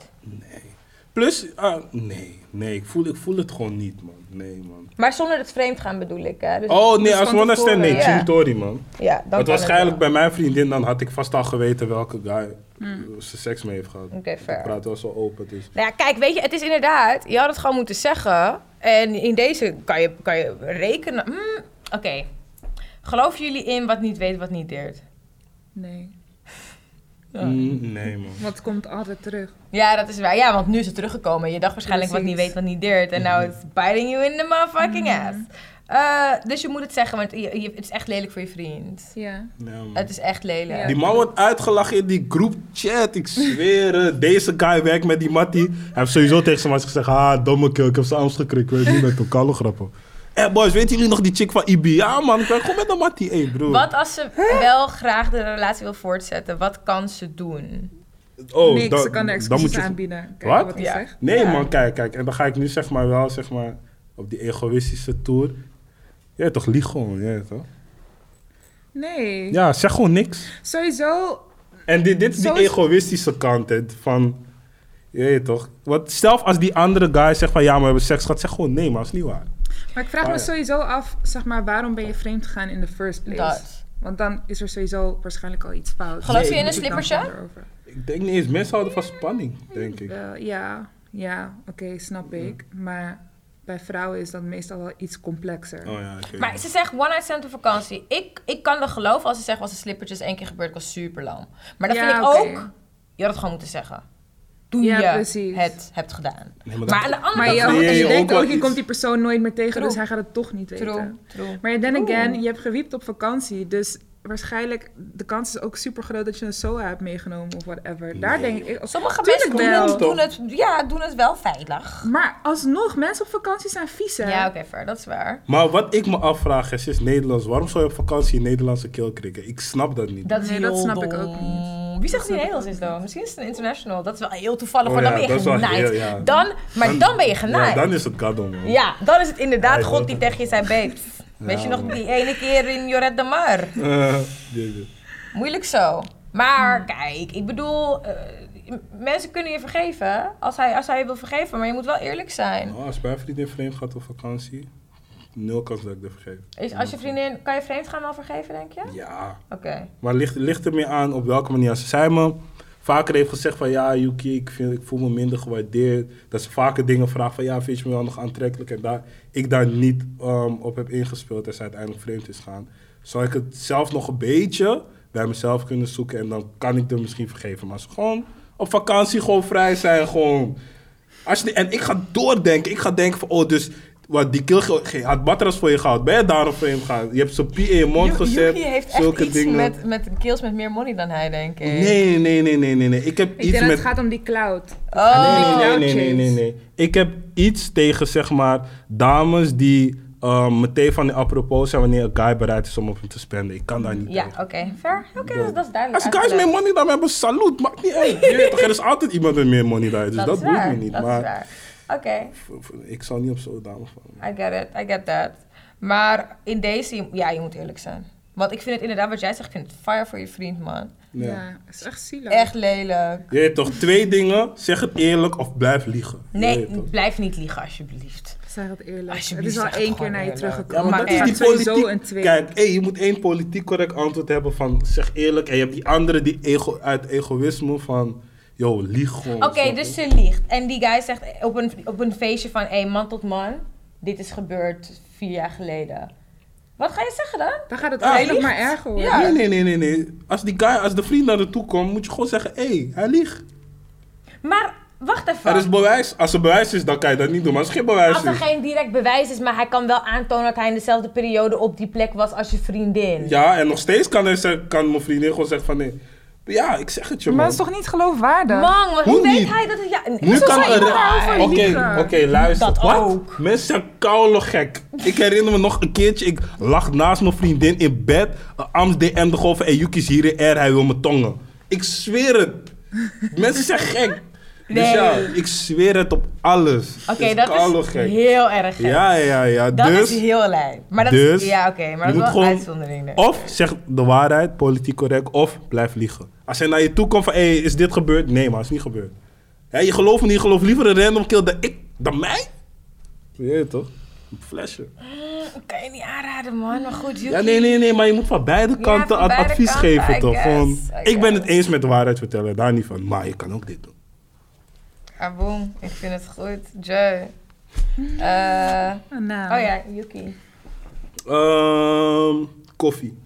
S2: Plus, ah, nee, nee, ik voel, ik voel het gewoon niet, man. Nee, man.
S1: Maar zonder het vreemd gaan bedoel ik. Hè? Dus
S2: Oh, nee,
S1: dus
S2: als
S1: van
S2: one night stand, nee,
S1: tevoren,
S2: Jim Tory, man.
S1: Ja, ja dan kan
S2: Want
S1: het
S2: waarschijnlijk
S1: wel.
S2: bij mijn vriendin, dan had ik vast al geweten welke guy eh, ze seks mee heeft gehad.
S1: Oké,
S2: Want
S1: fair.
S2: Ik praat wel zo open, dus...
S1: Nou ja, kijk, weet je, het is inderdaad... Je had het gewoon moeten zeggen. En in deze kan je, kan je rekenen... Hmm, Oké. Geloven jullie in wat niet weet, wat niet deert?
S3: Nee,
S2: Mm, nee, man.
S3: want het komt altijd terug.
S1: Ja, dat is waar. Ja, want nu is het teruggekomen. Je dacht waarschijnlijk wat
S3: Precies.
S1: niet weet, wat niet deert. En
S2: Mm-hmm.
S1: nou is het biting you in the motherfucking ass. Eh, dus je moet het zeggen, want je- je- het is echt lelijk voor je vriend.
S3: Ja.
S2: Ja, man.
S1: Het is echt lelijk.
S3: Ja.
S2: Die man wordt uitgelachen in die groep chat. Ik zweer het. Deze guy werkt met die mattie. Hij heeft sowieso tegen zijn matjes gezegd... Ah, domme kill. Ik heb zijn arms gekrikt. Ik weet niet met een kale grappen. Hé Eh, boys, weten jullie nog die chick van IBA, man? Ik werk gewoon met een mattie. Hé, broer.
S1: Wat als ze wel graag de relatie wil voortzetten? Wat kan ze doen?
S2: Oh,
S3: Niks,
S2: dan-
S3: ze kan er
S2: dan moet
S3: excuses
S2: je-
S3: aanbieden. Kijken
S2: Wat?
S3: wat, hij
S1: Ja.
S3: zegt.
S2: Nee,
S1: Ja.
S2: man, kijk, kijk. En dan ga ik nu zeg maar wel, zeg maar... Op die egoïstische tour. Ja, toch, lieg gewoon. Ja, toch?
S3: Nee.
S2: Ja, zeg gewoon niks.
S3: Sowieso,
S2: En dit, dit is die
S3: Zo is-
S2: egoïstische kant hè, van... Je weet toch? Want zelf als die andere guy zegt van... Ja, maar we hebben seks gehad. Zeg gewoon nee, maar dat is niet waar.
S3: maar ik vraag
S2: Ah,
S3: me
S2: ja.
S3: sowieso af, zeg maar, waarom ben je vreemd gegaan in the first place?
S1: Dat.
S3: Want dan is er sowieso waarschijnlijk al iets fout.
S1: Geloof
S2: Nee,
S1: je in een
S2: ik-
S1: slippersje?
S3: Daarover.
S2: Ik denk niet eens. Mensen houden van spanning, denk ik. Mhm.
S3: Wel, Eh, ja, ja oké, snap ik. Maar bij vrouwen is dat meestal wel iets complexer.
S2: Oh ja, oké.
S1: Maar ze zegt one night stand op vakantie. Ik, ik kan er geloven als ze zegt was de slippertjes één keer gebeurd. Ik was super lam. Maar dat
S3: Ja,
S1: vind ik
S3: oké.
S1: ook. Je had het gewoon moeten zeggen. Toen
S3: Ja,
S1: je
S3: precies.
S1: het hebt gedaan.
S2: Nee,
S1: maar,
S2: maar dat-
S1: aan de andere
S3: Maar
S1: kant.
S3: je,
S2: creëer
S3: en je
S2: je
S3: denkt
S2: ook wel
S3: ook, je komt
S2: iets.
S3: die persoon nooit meer tegen, dus
S1: True.
S3: hij gaat het toch niet weten.
S1: True, true.
S3: Maar then again, je hebt gewiept op vakantie, dus waarschijnlijk de kans is ook super groot dat je een SOA hebt meegenomen of whatever. Daar denk ik.
S1: Sommige
S3: Tuurlijk
S1: mensen doen het,
S2: wel.
S1: doen, het, ja, doen het wel veilig.
S3: Maar alsnog, mensen op vakantie zijn vies, hè?
S1: Ja, oké, fair. Dat is waar.
S2: Maar wat ik me afvraag is, is Nederlands. Waarom zou je op vakantie een Nederlandse keel krikken? Ik snap dat niet.
S1: Dat is
S3: Nee,
S1: heel
S3: dat snap ik
S1: dom.
S3: ook niet.
S1: Wie zegt die
S3: Dat snap ik
S1: Nederlands
S3: ook
S1: is dan? Misschien is het een international. Dat is wel heel toevallig,
S2: Oh
S1: want dan
S2: ja,
S1: ben je
S2: dat is wel
S1: genaaid.
S2: heel- ja.
S1: Dan, maar dan, ben je genaaid.
S2: Ja, dan is het kadon, man.
S1: Ja, dan is het inderdaad
S2: Ja,
S1: God
S2: dat-
S1: die tegen je zei, babe.
S2: Nou.
S1: Weet je nog die ene keer in Joret de Mar?
S2: Eh, dit- dit.
S1: Moeilijk zo.
S2: Hmm.
S1: Maar kijk, ik bedoel, eh, m- mensen kunnen je vergeven als hij, als hij je wil vergeven, maar je moet wel eerlijk zijn.
S2: Nou, als mijn vriendin vreemd gaat op vakantie... Nul kans dat ik dat vergeef.
S1: Is, als je vriendin, kan je vreemd gaan wel vergeven, denk je? Oké.
S2: Ja. Maar ligt, ligt er meer aan op welke manier. Als zij me vaker heeft gezegd van ja, Yuki, ik, vind, ik voel me minder gewaardeerd. Dat ze vaker dingen vraagt van ja, vind je me wel nog aantrekkelijk? En daar, ik daar niet ehm, op heb ingespeeld en zij uiteindelijk vreemd is gaan. Zou ik het zelf nog een beetje bij mezelf kunnen zoeken en dan kan ik er misschien vergeven. Maar als we gewoon op vakantie gewoon vrij zijn, gewoon. Als je, en ik ga doordenken. Ik ga denken van, oh, dus wat, die kill ge- had matras voor je gehaald. Ben je daarop voor hem gegaan? Je hebt zo'n pie in je mond gezet.
S4: Yuki heeft echt
S2: zulke
S4: iets
S2: dingen.
S4: met, met kills met meer money dan hij, denk ik.
S2: Nee, nee, nee, nee, nee, nee. Ik heb
S3: Ik
S2: iets
S3: denk dat
S2: met...
S3: het gaat om die cloud.
S4: Oh,
S2: Nee, nee,
S3: Oh.
S2: nee, nee, nee, nee. Ik heb iets tegen, zeg maar, dames die ehm, meteen van de apropos zijn wanneer een guy bereid is om op hem te spenden. Ik kan daar niet
S1: Ja,
S2: tegen.
S1: oké. Fair. Oké, dat, dat is duidelijk.
S2: Als guys meer money dan we hebben, salut. Maakt niet uit. Je weet toch, er is altijd iemand met meer money dan je, dus dat,
S4: dat is
S2: boeit
S4: waar.
S2: me niet.
S4: Dat is
S2: maar
S4: waar. Oké,
S2: v- v- ik zal niet op zo'n dame vallen.
S4: I get it, I get that. Maar in deze, ja, je moet eerlijk zijn. Want ik vind het inderdaad, wat jij zegt, ik vind het fire voor je vriend, man.
S2: Ja.
S3: Ja, dat is echt zielig.
S4: Echt lelijk.
S2: Je weet toch, twee dingen. Zeg het eerlijk of blijf liegen. Je
S1: Nee,
S2: weet toch.
S1: blijf niet liegen, alsjeblieft.
S3: Zeg het eerlijk. Het
S1: Alsjeblieft,
S3: is al
S1: zeg het
S3: één
S1: gewoon
S3: keer naar je
S1: eerlijk.
S2: Ja,
S3: teruggekomen.
S2: maar
S1: maar
S2: dat
S1: echt.
S2: is die
S3: Het gaat sowieso een
S2: politiek.
S3: twee.
S2: Kijk, hey, je moet één politiek correct antwoord hebben van zeg eerlijk. En je hebt die andere die ego, uit egoïsme van, yo, lieg gewoon.
S1: Oké,
S2: snap je?
S1: dus ze liegt. En die guy zegt op een, op een feestje van... Hé, man tot man. Dit is gebeurd vier jaar geleden. Wat ga je zeggen dan?
S3: Dan gaat het
S2: Ah,
S3: alleen nog
S2: licht.
S3: maar erger worden.
S4: Ja.
S2: Nee, nee, nee, nee, nee. Als die guy, als de vriend naar de toe komt, moet je gewoon zeggen, hé, hey, hij liegt.
S1: Maar wacht even.
S2: Er is bewijs. Als er bewijs is, dan kan je dat niet doen. Maar als er geen bewijs
S1: Als er
S2: is...
S1: geen direct bewijs is, maar hij kan wel aantonen dat hij in dezelfde periode op die plek was als je vriendin.
S2: Ja, en nog steeds kan, hij zeggen- kan mijn vriendin gewoon zeggen van, nee. Ja, ik zeg het je, man.
S3: Maar het is toch niet geloofwaardig?
S1: Man, maar hoe,
S2: Hoe
S1: weet
S2: niet?
S1: hij dat het... nou Ja,
S2: Nu
S1: hoezo
S2: kan
S1: zou
S2: er... Ah, Oh,
S1: iemand daarover
S2: Oké,
S3: liegen?
S2: oké, luister.
S1: Dat
S2: Wat?
S1: ook.
S2: Mensen zijn koude gek. Ik herinner me nog een keertje, ik lag naast mijn vriendin in bed. Een Ams DM de golven en Yuki is hier in air, hij wil mijn tongen. Ik zweer het. Mensen zijn gek. Dus
S1: Nee.
S2: ja, ik zweer het op alles.
S1: Oké,
S2: Het is
S1: dat
S2: koude
S1: is
S2: Dus gek.
S1: heel erg gek.
S2: Ja, ja, ja.
S1: Dat
S2: dus,
S1: is heel lijn. Maar dat
S2: dus
S1: is... Ja, oké. maar
S2: je
S1: dat is
S2: moet
S1: wel
S2: gewoon- Oh.
S1: een uitzondering. dus. denk ik.
S2: Of zeg de waarheid, politiek correct, of blijf liegen. Als hij naar je toe komt van, hé, hey, is dit gebeurd? Nee, maar het is niet gebeurd. Hè, je gelooft me niet, je gelooft liever een random kill dan ik, dan mij? Je weet toch? Een flesje.
S1: Dat kan je niet aanraden, man. Maar goed, Yuki.
S2: Ja, nee, nee, nee, maar je moet van beide kanten
S1: van
S2: ad-
S1: beide
S2: advies
S1: kanten, I
S2: geven, toch?
S1: guess,
S2: Gewoon,
S1: I
S2: ik ben het
S1: guess.
S2: eens met de waarheid vertellen, daar niet van. Maar je kan ook dit doen.
S4: Ah, boom. Ik vind het goed. Joe. Eh,
S3: Nou.
S4: oh ja, Yuki.
S2: Ehm, koffie.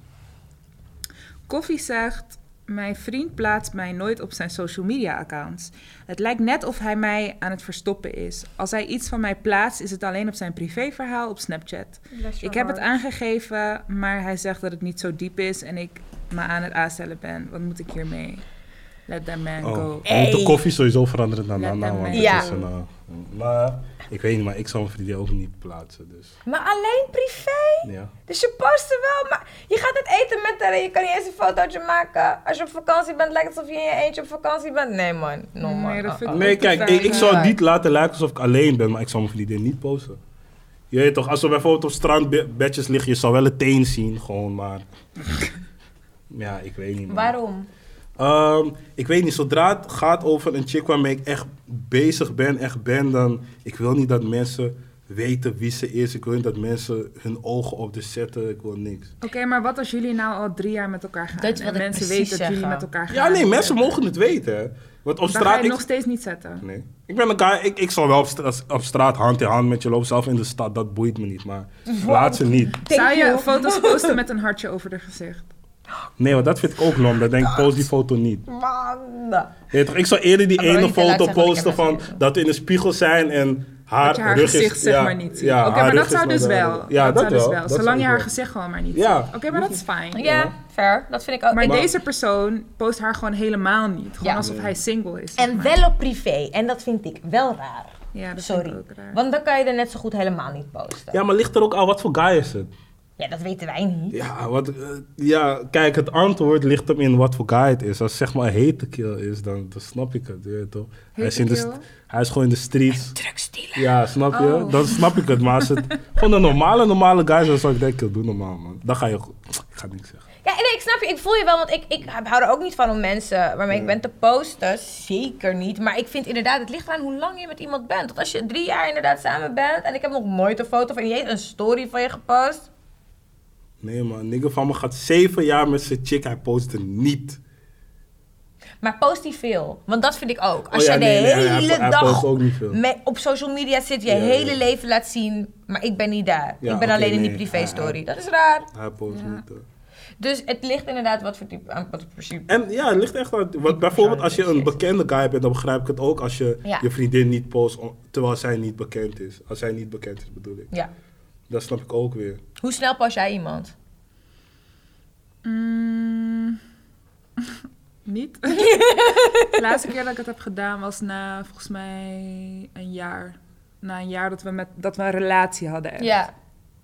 S3: Koffie zegt: Mijn vriend plaatst mij nooit op zijn social media accounts. Het lijkt net of hij mij aan het verstoppen is. Als hij iets van mij plaatst, is het alleen op zijn privéverhaal op Snapchat. Ik heb het aangegeven, maar hij zegt dat het niet zo diep is en ik me aan het aanstellen ben. Wat moet ik hiermee? Let that man
S2: Oh,
S3: go.
S2: we moeten
S1: Ey.
S2: koffie sowieso veranderen naar
S3: Let
S2: Nana,
S3: them
S2: want
S3: make
S1: Ja.
S2: het is een... eh, maar, ik weet niet, maar ik zal mijn vriendin ook niet plaatsen, dus...
S1: Maar alleen privé?
S2: Ja.
S1: Dus je post er wel, maar je gaat het eten met haar en je kan niet eens een fotootje maken. Als je op vakantie bent, lijkt het alsof je in je eentje op vakantie bent. Nee man, no
S3: Nee,
S1: man.
S3: dat
S1: Oh,
S3: vind
S1: oh.
S3: ik-
S2: Nee,
S3: Om te
S2: kijk, ik,
S3: vragen.
S2: ik zou het niet laten lijken alsof ik alleen ben, maar ik zou mijn vriendin niet posten. Je weet toch, als we bijvoorbeeld op strandbedjes liggen, je zou wel het teen zien, gewoon, maar... ja, ik weet niet, man.
S1: Waarom?
S2: Ehm, ik weet niet, zodra het gaat over een chick waarmee ik echt bezig ben, echt ben, dan... Ik wil niet dat mensen weten wie ze is. Ik wil niet dat mensen hun ogen op de zetten. Ik wil niks.
S3: Oké, maar wat als jullie nou al drie jaar met elkaar gaan?
S4: Dat is wat
S3: en
S4: ik
S3: mensen
S4: precies
S3: weten dat jullie
S4: zeggen.
S3: met elkaar gaan.
S2: Ja, nee, mensen mogen het weten, hè. Want op
S3: Dan ga je
S2: straat...
S3: het
S2: ik-
S3: nog steeds niet zetten.
S2: Nee. Ik ben elkaar, ik, ik zal wel op straat, op straat hand in hand met je lopen, zelf in de stad, dat boeit me niet, maar laat ze niet.
S3: Zou je
S1: you.
S3: foto's posten met een hartje over de gezicht?
S2: Nee, want dat vind ik ook lom, dat denk ik, post die foto niet.
S1: Man.
S2: Je weet toch, ik zou eerder die
S4: Maar wil
S2: ene
S4: je niet te laat
S2: foto
S4: zeggen dat ik
S2: posten
S4: hem
S2: van
S4: heb gezien?
S2: dat we in de spiegel zijn en haar,
S3: dat je haar
S2: rug
S3: gezicht
S2: is,
S3: zeg
S2: ja,
S3: maar niet ziet.
S2: ja,
S3: Oké,
S2: haar
S3: maar dat
S2: rug is
S3: zou dus
S2: naar de-
S3: wel.
S2: Ja, dat,
S3: zou dus wel.
S2: Dat zou
S3: Zolang
S2: ik
S3: je haar
S2: wel.
S3: gezicht gewoon maar niet
S2: Ja.
S3: ziet. Oké, maar dat is fijn.
S4: Ja, fair. Dat vind ik ook.
S3: Maar
S4: Ik-
S3: deze persoon post haar gewoon helemaal niet. Gewoon
S1: Ja.
S3: alsof hij single is. zeg
S1: En
S3: maar.
S1: wel op privé. En dat vind ik wel raar.
S3: Ja, dat
S1: Sorry.
S3: vind ik ook raar.
S1: Want dan kan je er net zo goed helemaal niet posten. Ja,
S2: Ja, maar ligt er ook aan wat voor guy is het?
S1: dat weten wij niet.
S2: Ja, wat, eh, ja, kijk, het antwoord ligt hem in wat voor guy het is. Als het zeg maar een hete kill is, dan, dan snap ik het, je weet toch? Hij is, in de,
S3: kill?
S2: st- hij is gewoon in de streets.
S1: Drugsdealer.
S2: Ja, snap je?
S3: Oh.
S2: Dan snap ik het. Maar als het gewoon een normale, normale guy is, dan zou ik denken, doe normaal, man. Dan ga je... go- Ik ga niks zeggen.
S1: Ja, nee, ik snap je. Ik voel je wel, want ik, ik hou er ook niet van om mensen waarmee ik ben te posten. Zeker niet. Maar ik vind inderdaad, het ligt aan hoe lang je met iemand bent. Want als je drie jaar inderdaad samen bent en ik heb nog nooit een foto van je, een story van je gepost.
S2: Nee, man. Nigga van me gaat zeven jaar met zijn chick. Hij postte niet.
S1: Maar post niet veel. Want dat vind ik ook. Als
S2: Oh
S1: jij
S2: ja,
S1: de
S2: nee, nee, hij-
S1: hele
S2: hij- hij
S1: dag
S2: post ook niet veel.
S1: me- op social media zit, je
S2: Ja,
S1: hele
S2: ja.
S1: leven laat zien. Maar ik ben niet daar.
S2: Ja,
S1: ik ben
S2: oké,
S1: alleen in die
S2: nee,
S1: privé-story.
S2: hij-
S1: Dat is raar.
S2: Hij post niet. hoor.
S1: Dus het ligt inderdaad wat voor type. aan- Wat voor principe.
S2: En ja, het ligt echt aan. Want bijvoorbeeld als je een bekende guy bent, dan begrijp ik het ook als je
S1: Ja.
S2: je vriendin niet post om- terwijl zij niet bekend is. Als zij niet bekend is bedoel ik.
S1: Ja.
S2: Dat snap ik ook weer.
S1: Hoe snel pas jij iemand?
S3: Mm, niet. de laatste keer dat ik het heb gedaan was na volgens mij een jaar. Na een jaar dat we, met, dat we een relatie hadden. echt.
S1: Ja.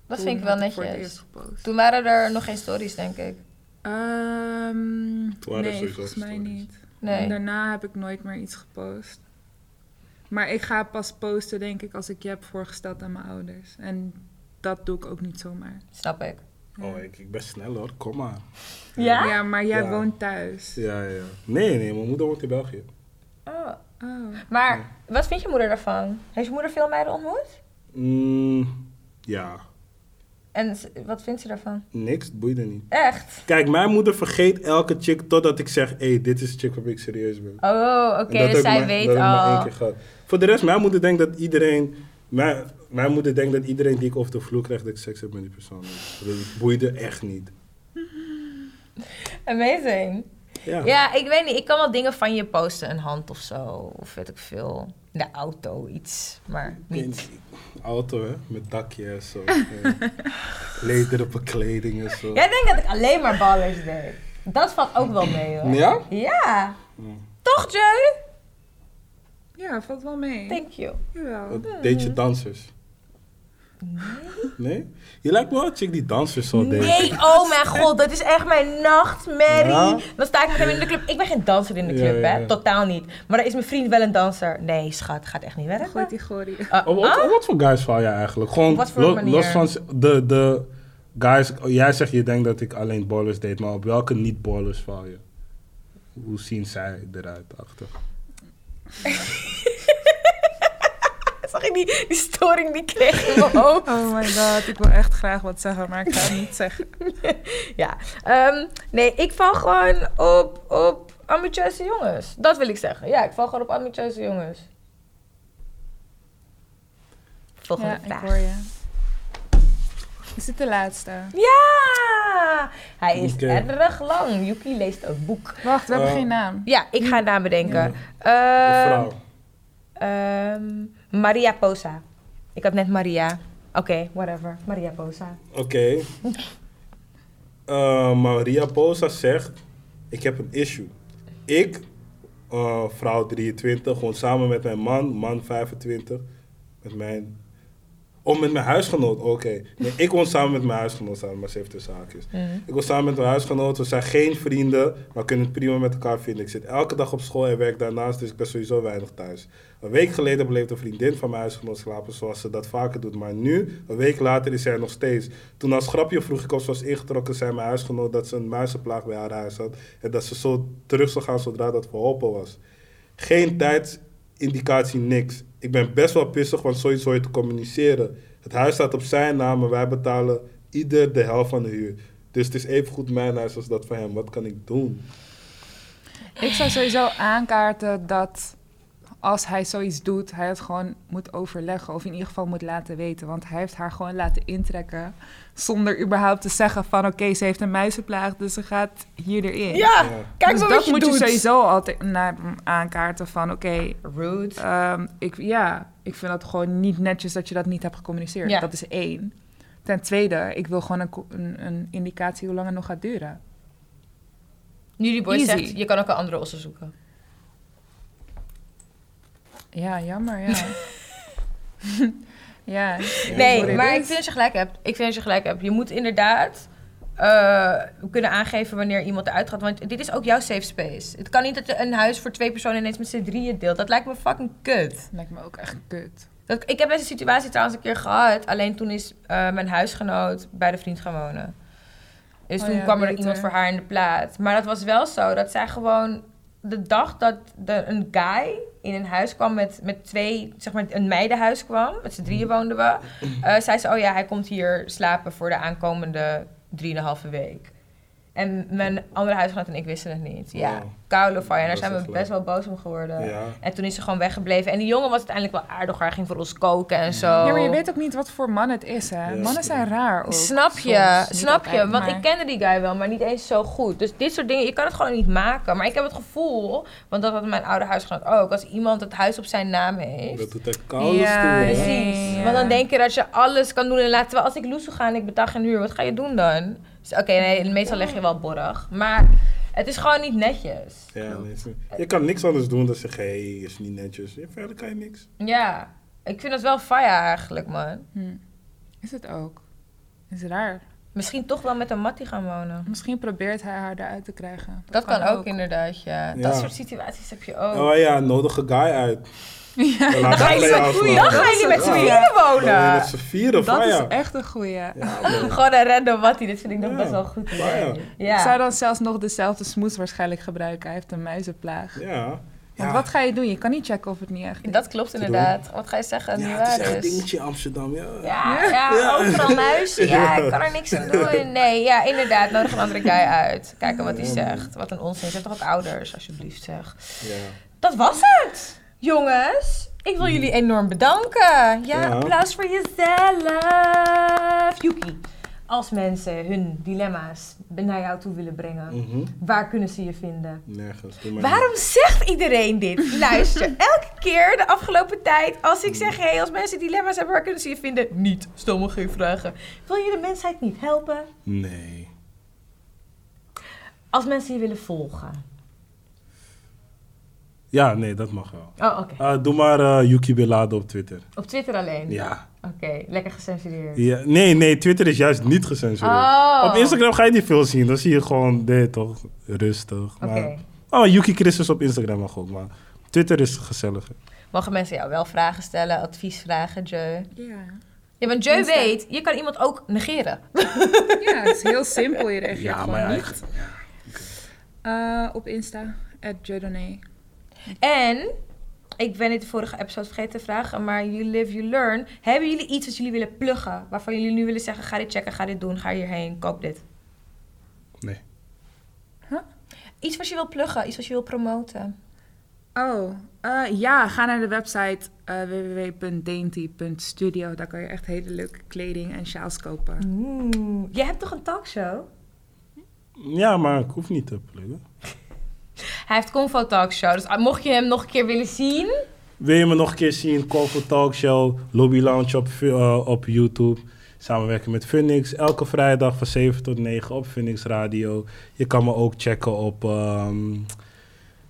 S1: Dat
S3: Toen
S1: vind ik wel
S3: had Voor het eerst
S1: netjes.
S3: gepost.
S1: Toen waren er nog geen stories, denk ik.
S3: Ehm,
S2: waren
S3: nee,
S2: sowieso
S3: volgens mij
S2: stories.
S3: niet. En
S1: Nee.
S3: daarna heb ik nooit meer iets gepost. Maar ik ga pas posten, denk ik, als ik je heb voorgesteld aan mijn ouders. En dat doe ik ook niet zomaar.
S1: Snap ik.
S2: Oh, ik, ik ben snel hoor, kom maar.
S1: Ja?
S3: Ja, maar jij
S2: Ja.
S3: woont thuis.
S2: Ja, ja. Nee, nee, mijn moeder woont in België.
S1: Oh.
S3: Oh.
S1: Maar wat vindt je moeder daarvan? Heeft je moeder veel meiden ontmoet?
S2: Mm, ja,
S1: En s- wat vindt ze daarvan?
S2: niks, het boeide niet.
S1: Echt?
S2: Kijk, mijn moeder vergeet elke chick totdat ik zeg: hé, hey, dit is de chick waarmee ik serieus ben.
S1: Oh, oké.
S2: En dat
S1: Dus
S2: heb ik
S1: zij
S2: maar-
S1: weet
S2: dat heb ik maar één
S1: al.
S2: keer gehad. Voor de rest, mijn moeder denkt dat iedereen. Mijn, mijn moeder denkt dat iedereen die ik over de vloer krijg, dat ik seks heb met die persoon. Dat boeide echt niet.
S1: Amazing.
S2: Ja.
S1: Ja, ik weet niet. Ik kan wel dingen van je posten. Een hand of zo. Of weet ik veel. De auto, iets. Maar niet.
S2: Auto, hè? Met dakje en zo. Ja. Lederen bekleding en zo.
S1: Jij denkt dat ik alleen maar ballers deed. Dat valt ook wel mee hoor.
S2: Ja?
S1: Ja. Toch, Joe?
S3: Ja, valt wel mee.
S1: Thank you.
S3: Jawel.
S2: Wat deed je dansers? Nee? Je lijkt me wel een chick die dansers zou deden.
S1: Nee, oh mijn god, dat is echt mijn nachtmerrie.
S2: Ja?
S1: Dan sta ik met hem in de club. Ik ben geen danser in de
S2: Ja,
S1: club,
S2: ja,
S1: hè?
S2: ja.
S1: Totaal niet. Maar dan is mijn vriend wel een danser. Nee, schat, gaat echt niet werken.
S3: Gooit die gorie.
S1: Ah,
S2: Op, Oh, wat- op wat voor guys val jij eigenlijk? Gewoon
S1: Op wat voor
S2: lo-
S1: manier?
S2: los van z- de, de guys. Jij zegt je denkt dat ik alleen ballers deed, maar op welke niet-ballers val je? Hoe zien zij eruit achter?
S1: Zag ik die, die storing die ik kreeg in mijn hoofd?
S3: Oh my god, ik wil echt graag wat zeggen, maar ik ga het niet zeggen.
S1: Ja. Ehm, nee, ik val gewoon op, op ambitieuze jongens. Dat wil ik zeggen. Ja, ik val gewoon op ambitieuze jongens. Volgende
S3: ja, ik
S1: vraag.
S3: hoor je. Is dit de laatste?
S1: Ja! Hij is
S2: Oké.
S1: erg lang. Yuki leest een boek.
S3: Wacht, we hebben
S2: Eh,
S3: geen naam.
S1: Ja, ik
S3: Hmm.
S1: ga een naam bedenken.
S2: Een
S1: Ehm,
S2: vrouw.
S1: ehm, Maria Posa. Ik had net Maria. Oké, whatever. Maria Posa.
S2: Oké. Eh, Maria Posa zegt: Ik heb een issue. Ik, eh, vrouw 23, gewoon samen met mijn man, man 25, met mijn. Oh, met mijn huisgenoot, oké. Nee, ik woon samen met mijn huisgenoot samen, maar ze heeft dus zaakjes. Ik woon samen met mijn huisgenoot, we zijn geen vrienden, maar kunnen het prima met elkaar vinden. Ik zit elke dag op school en werk daarnaast, dus ik ben sowieso weinig thuis. Een week geleden bleef een vriendin van mijn huisgenoot slapen, zoals ze dat vaker doet. Maar nu, een week later, is zij er nog steeds. Toen als grapje vroeg ik of ze was ingetrokken, zei mijn huisgenoot dat ze een muizenplaag bij haar huis had. En dat ze zo terug zou gaan zodra dat verholpen was. Geen tijdsindicatie, niks. Ik ben best wel pissig, want zoiets hoor je te communiceren. Het huis staat op zijn naam en wij betalen ieder de helft van de huur. Dus het is evengoed mijn huis als dat van hem. Wat kan ik doen?
S3: Ik zou sowieso aankaarten dat als hij zoiets doet, hij het gewoon moet overleggen. Of in ieder geval moet laten weten. Want hij heeft haar gewoon laten intrekken. Zonder überhaupt te zeggen van oké, ze heeft een muizenplaag, dus ze gaat hier
S1: Ja!
S3: erin.
S2: Ja.
S1: Kijk
S3: dus
S1: maar
S3: dat
S1: wat je
S3: moet
S1: doet.
S3: je sowieso altijd naar hem aankaarten van oké,
S1: Rude.
S3: Ehm, ik, ja, ik vind dat gewoon niet netjes dat je dat niet hebt gecommuniceerd.
S1: Ja.
S3: Dat is één. Ten tweede, ik wil gewoon een, co- een, een indicatie hoe lang het nog gaat duren.
S1: Nu die boy
S3: Easy.
S1: zegt, je kan ook een andere ossen zoeken.
S3: Ja, jammer, ja. ja.
S1: Nee,
S3: Sorry,
S1: maar
S3: dus.
S1: ik vind dat je gelijk hebt. Ik vind dat je gelijk hebt. Je moet inderdaad eh, kunnen aangeven wanneer iemand eruit gaat. Want dit is ook jouw safe space. Het kan niet dat je een huis voor twee personen ineens met z'n drieën deelt. Dat lijkt me fucking kut.
S3: Lijkt me ook echt kut.
S1: Dat, ik heb deze situatie trouwens een keer gehad. Alleen toen is eh, mijn huisgenoot bij de vriend gaan wonen. Dus
S3: Oh
S1: toen
S3: ja,
S1: kwam er
S3: beter.
S1: iemand voor haar in de plaats. Maar dat was wel zo dat zij gewoon... De dag dat de, een guy in een huis kwam met, met twee... Zeg maar een meidenhuis kwam. Met z'n drieën woonden we. eh, zei ze, oh ja, hij komt hier slapen voor de aankomende drieënhalve week. En mijn andere huisgenoot en ik wisten het niet. Ja.
S2: Wow.
S1: kuilen van je. En daar
S2: Dat
S1: zijn we
S2: is echt
S1: best wel boos om geworden.
S2: Ja.
S1: En toen is ze gewoon weggebleven. En die jongen was uiteindelijk wel aardig. Hij ging voor ons koken en zo.
S3: Ja, maar je weet ook niet wat voor man het is, hè?
S2: Ja.
S3: Mannen zijn raar ook.
S1: Snap je,
S3: soms. Niet
S1: snap je.
S3: altijd,
S1: Want
S3: maar-
S1: ik kende die guy wel, maar niet eens zo goed. Dus dit soort dingen, je kan het gewoon niet maken. Maar ik heb het gevoel, want dat had mijn oude huisgenoot ook. Als iemand het huis op zijn naam heeft.
S2: Dat doet echt kous
S3: Ja,
S2: toe, hè?
S3: precies.
S1: Precies.
S3: Ja.
S1: Want dan denk je dat je alles kan doen en laten. Terwijl als ik loes ga en ik betaal geen huur, wat ga je doen dan? Dus, Oké, nee, meestal leg je wel borg. Maar het is gewoon niet netjes.
S2: Ja, nee, is- je kan niks anders doen dan zeggen, hey, is niet netjes. Ja, verder kan je niks.
S1: Ja, ik vind dat wel faya eigenlijk, man.
S3: Hm. Is het ook? Is raar.
S1: Misschien toch wel met een mattie gaan wonen.
S3: Misschien probeert hij haar eruit te krijgen.
S1: Dat kan ook inderdaad, ja. Dat
S2: Ja.
S1: soort situaties heb je ook.
S2: Oh ja, nodig een guy uit. Ja. Laat
S1: Dan ga je
S2: dat
S1: niet
S2: mee
S1: met-
S2: aflopen.
S1: dan ga je niet met z'n
S2: Ja.
S1: vieren
S2: Dan wil je met
S1: wonen.
S2: z'n vieren,
S3: Dat
S2: fire.
S3: is echt een goeie.
S2: Ja, man.
S1: Gewoon een random mattie, dit vind ik nog
S2: Ja.
S1: best wel goed.
S2: Fire.
S3: Ik zou
S1: Ja.
S3: dan zelfs nog dezelfde smoes waarschijnlijk gebruiken. Hij heeft een muizenplaag.
S2: Ja.
S3: Want
S2: Ja.
S3: wat ga je doen? Je kan niet checken of het niet echt is.
S1: Dat klopt inderdaad. Wat ga je zeggen?
S2: Ja,
S1: nu
S2: het is
S1: waar
S2: echt een
S1: is.
S2: dingetje in Amsterdam, ja.
S1: Ja, ja, overal muizen. Ja, ik kan er niks aan doen. Nee, ja, inderdaad. Nodig een andere guy uit. Kijken wat hij zegt. Wat een onzin. Ze heeft toch ook ouders, alsjeblieft zeg.
S2: Ja.
S1: Dat was het, jongens. Ik wil jullie enorm bedanken. Ja,
S2: Ja.
S1: applaus voor jezelf. Yuki, als mensen hun dilemma's naar jou toe willen brengen,
S2: Mhm.
S1: waar kunnen ze je vinden?
S2: Nergens. doe maar
S1: Waarom zegt iedereen dit? Luister, elke keer de afgelopen tijd, als ik zeg, hé, hey, als mensen dilemma's hebben, waar kunnen ze je vinden? Niet, stel me geen vragen. Wil je de mensheid niet helpen?
S2: niet. Nee.
S1: Als mensen je willen volgen.
S2: Ja, nee, dat mag wel.
S1: Oh, oké.
S2: Ah, doe maar eh, Yuki Belado op Twitter.
S1: Op Twitter alleen?
S2: Ja.
S1: Oké, lekker gecensureerd.
S2: ja. Nee, nee, Twitter is juist niet gecensureerd.
S1: Oh.
S2: Op Instagram ga je niet veel zien. Dan zie je gewoon, nee toch, rustig.
S1: Oké.
S2: Maar... Oh, Yuki Christus op Instagram mag ook, maar Twitter is gezelliger.
S1: Mogen mensen jou wel vragen stellen, advies vragen, Jeu?
S3: Ja.
S1: Ja, want Jeu
S3: Insta.
S1: weet, je kan iemand ook negeren.
S3: ja, het is heel simpel. Je reageert
S2: Ja,
S3: gewoon
S2: maar ja,
S3: niet. Eh, op Insta, at Jodonee.
S1: En, ik ben dit de vorige episode vergeten te vragen, maar you live, you learn. Hebben jullie iets wat jullie willen pluggen? Waarvan jullie nu willen zeggen, ga dit checken, ga dit doen, ga hierheen, koop dit.
S2: Nee.
S1: Iets wat je wil pluggen, iets wat je wil promoten.
S3: Oh, eh, ja, ga naar de website eh www.dainty.studio. Daar kan je echt hele leuke kleding en sjaals kopen.
S1: Oeh, jij hebt toch een talkshow?
S2: Ja, maar ik hoef niet te pluggen.
S1: Hij heeft Convo Talkshow, dus ah, mocht je hem nog een keer willen zien...
S2: Wil je me nog een keer zien? Call for Talk Show, Lobby Lounge op, eh, op YouTube. Samenwerken met Phoenix. Elke vrijdag van 7 tot 9 op Phoenix Radio. Je kan me ook checken op... ehm,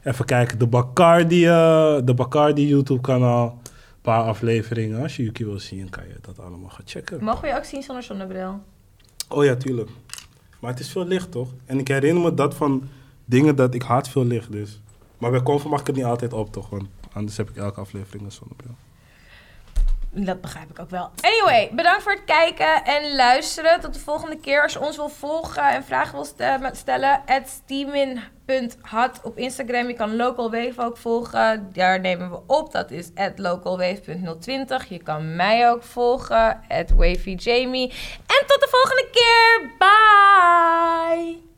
S2: even kijken, de Bacardi, eh, de Bacardi YouTube kanaal. Een paar afleveringen. Als je Yuki wil zien, kan je dat allemaal gaan checken.
S1: Mogen we je ook zien zonder zonnebril?
S2: Oh ja, tuurlijk. Maar het is veel licht, toch? En ik herinner me dat van dingen dat ik haat veel licht, dus... Maar bij Convo mag ik het niet altijd op, toch? Want anders heb ik elke aflevering een zonnebril.
S1: Dat begrijp ik ook wel. Anyway, bedankt voor het kijken en luisteren. Tot de volgende keer. Als je ons wil volgen en vragen wil stem- stellen, steamin.hot op Instagram. Je kan Local Wave ook volgen. Daar nemen we op. Dat is localwave.020. Je kan mij ook volgen, @wavyjamie. En tot de volgende keer. Bye!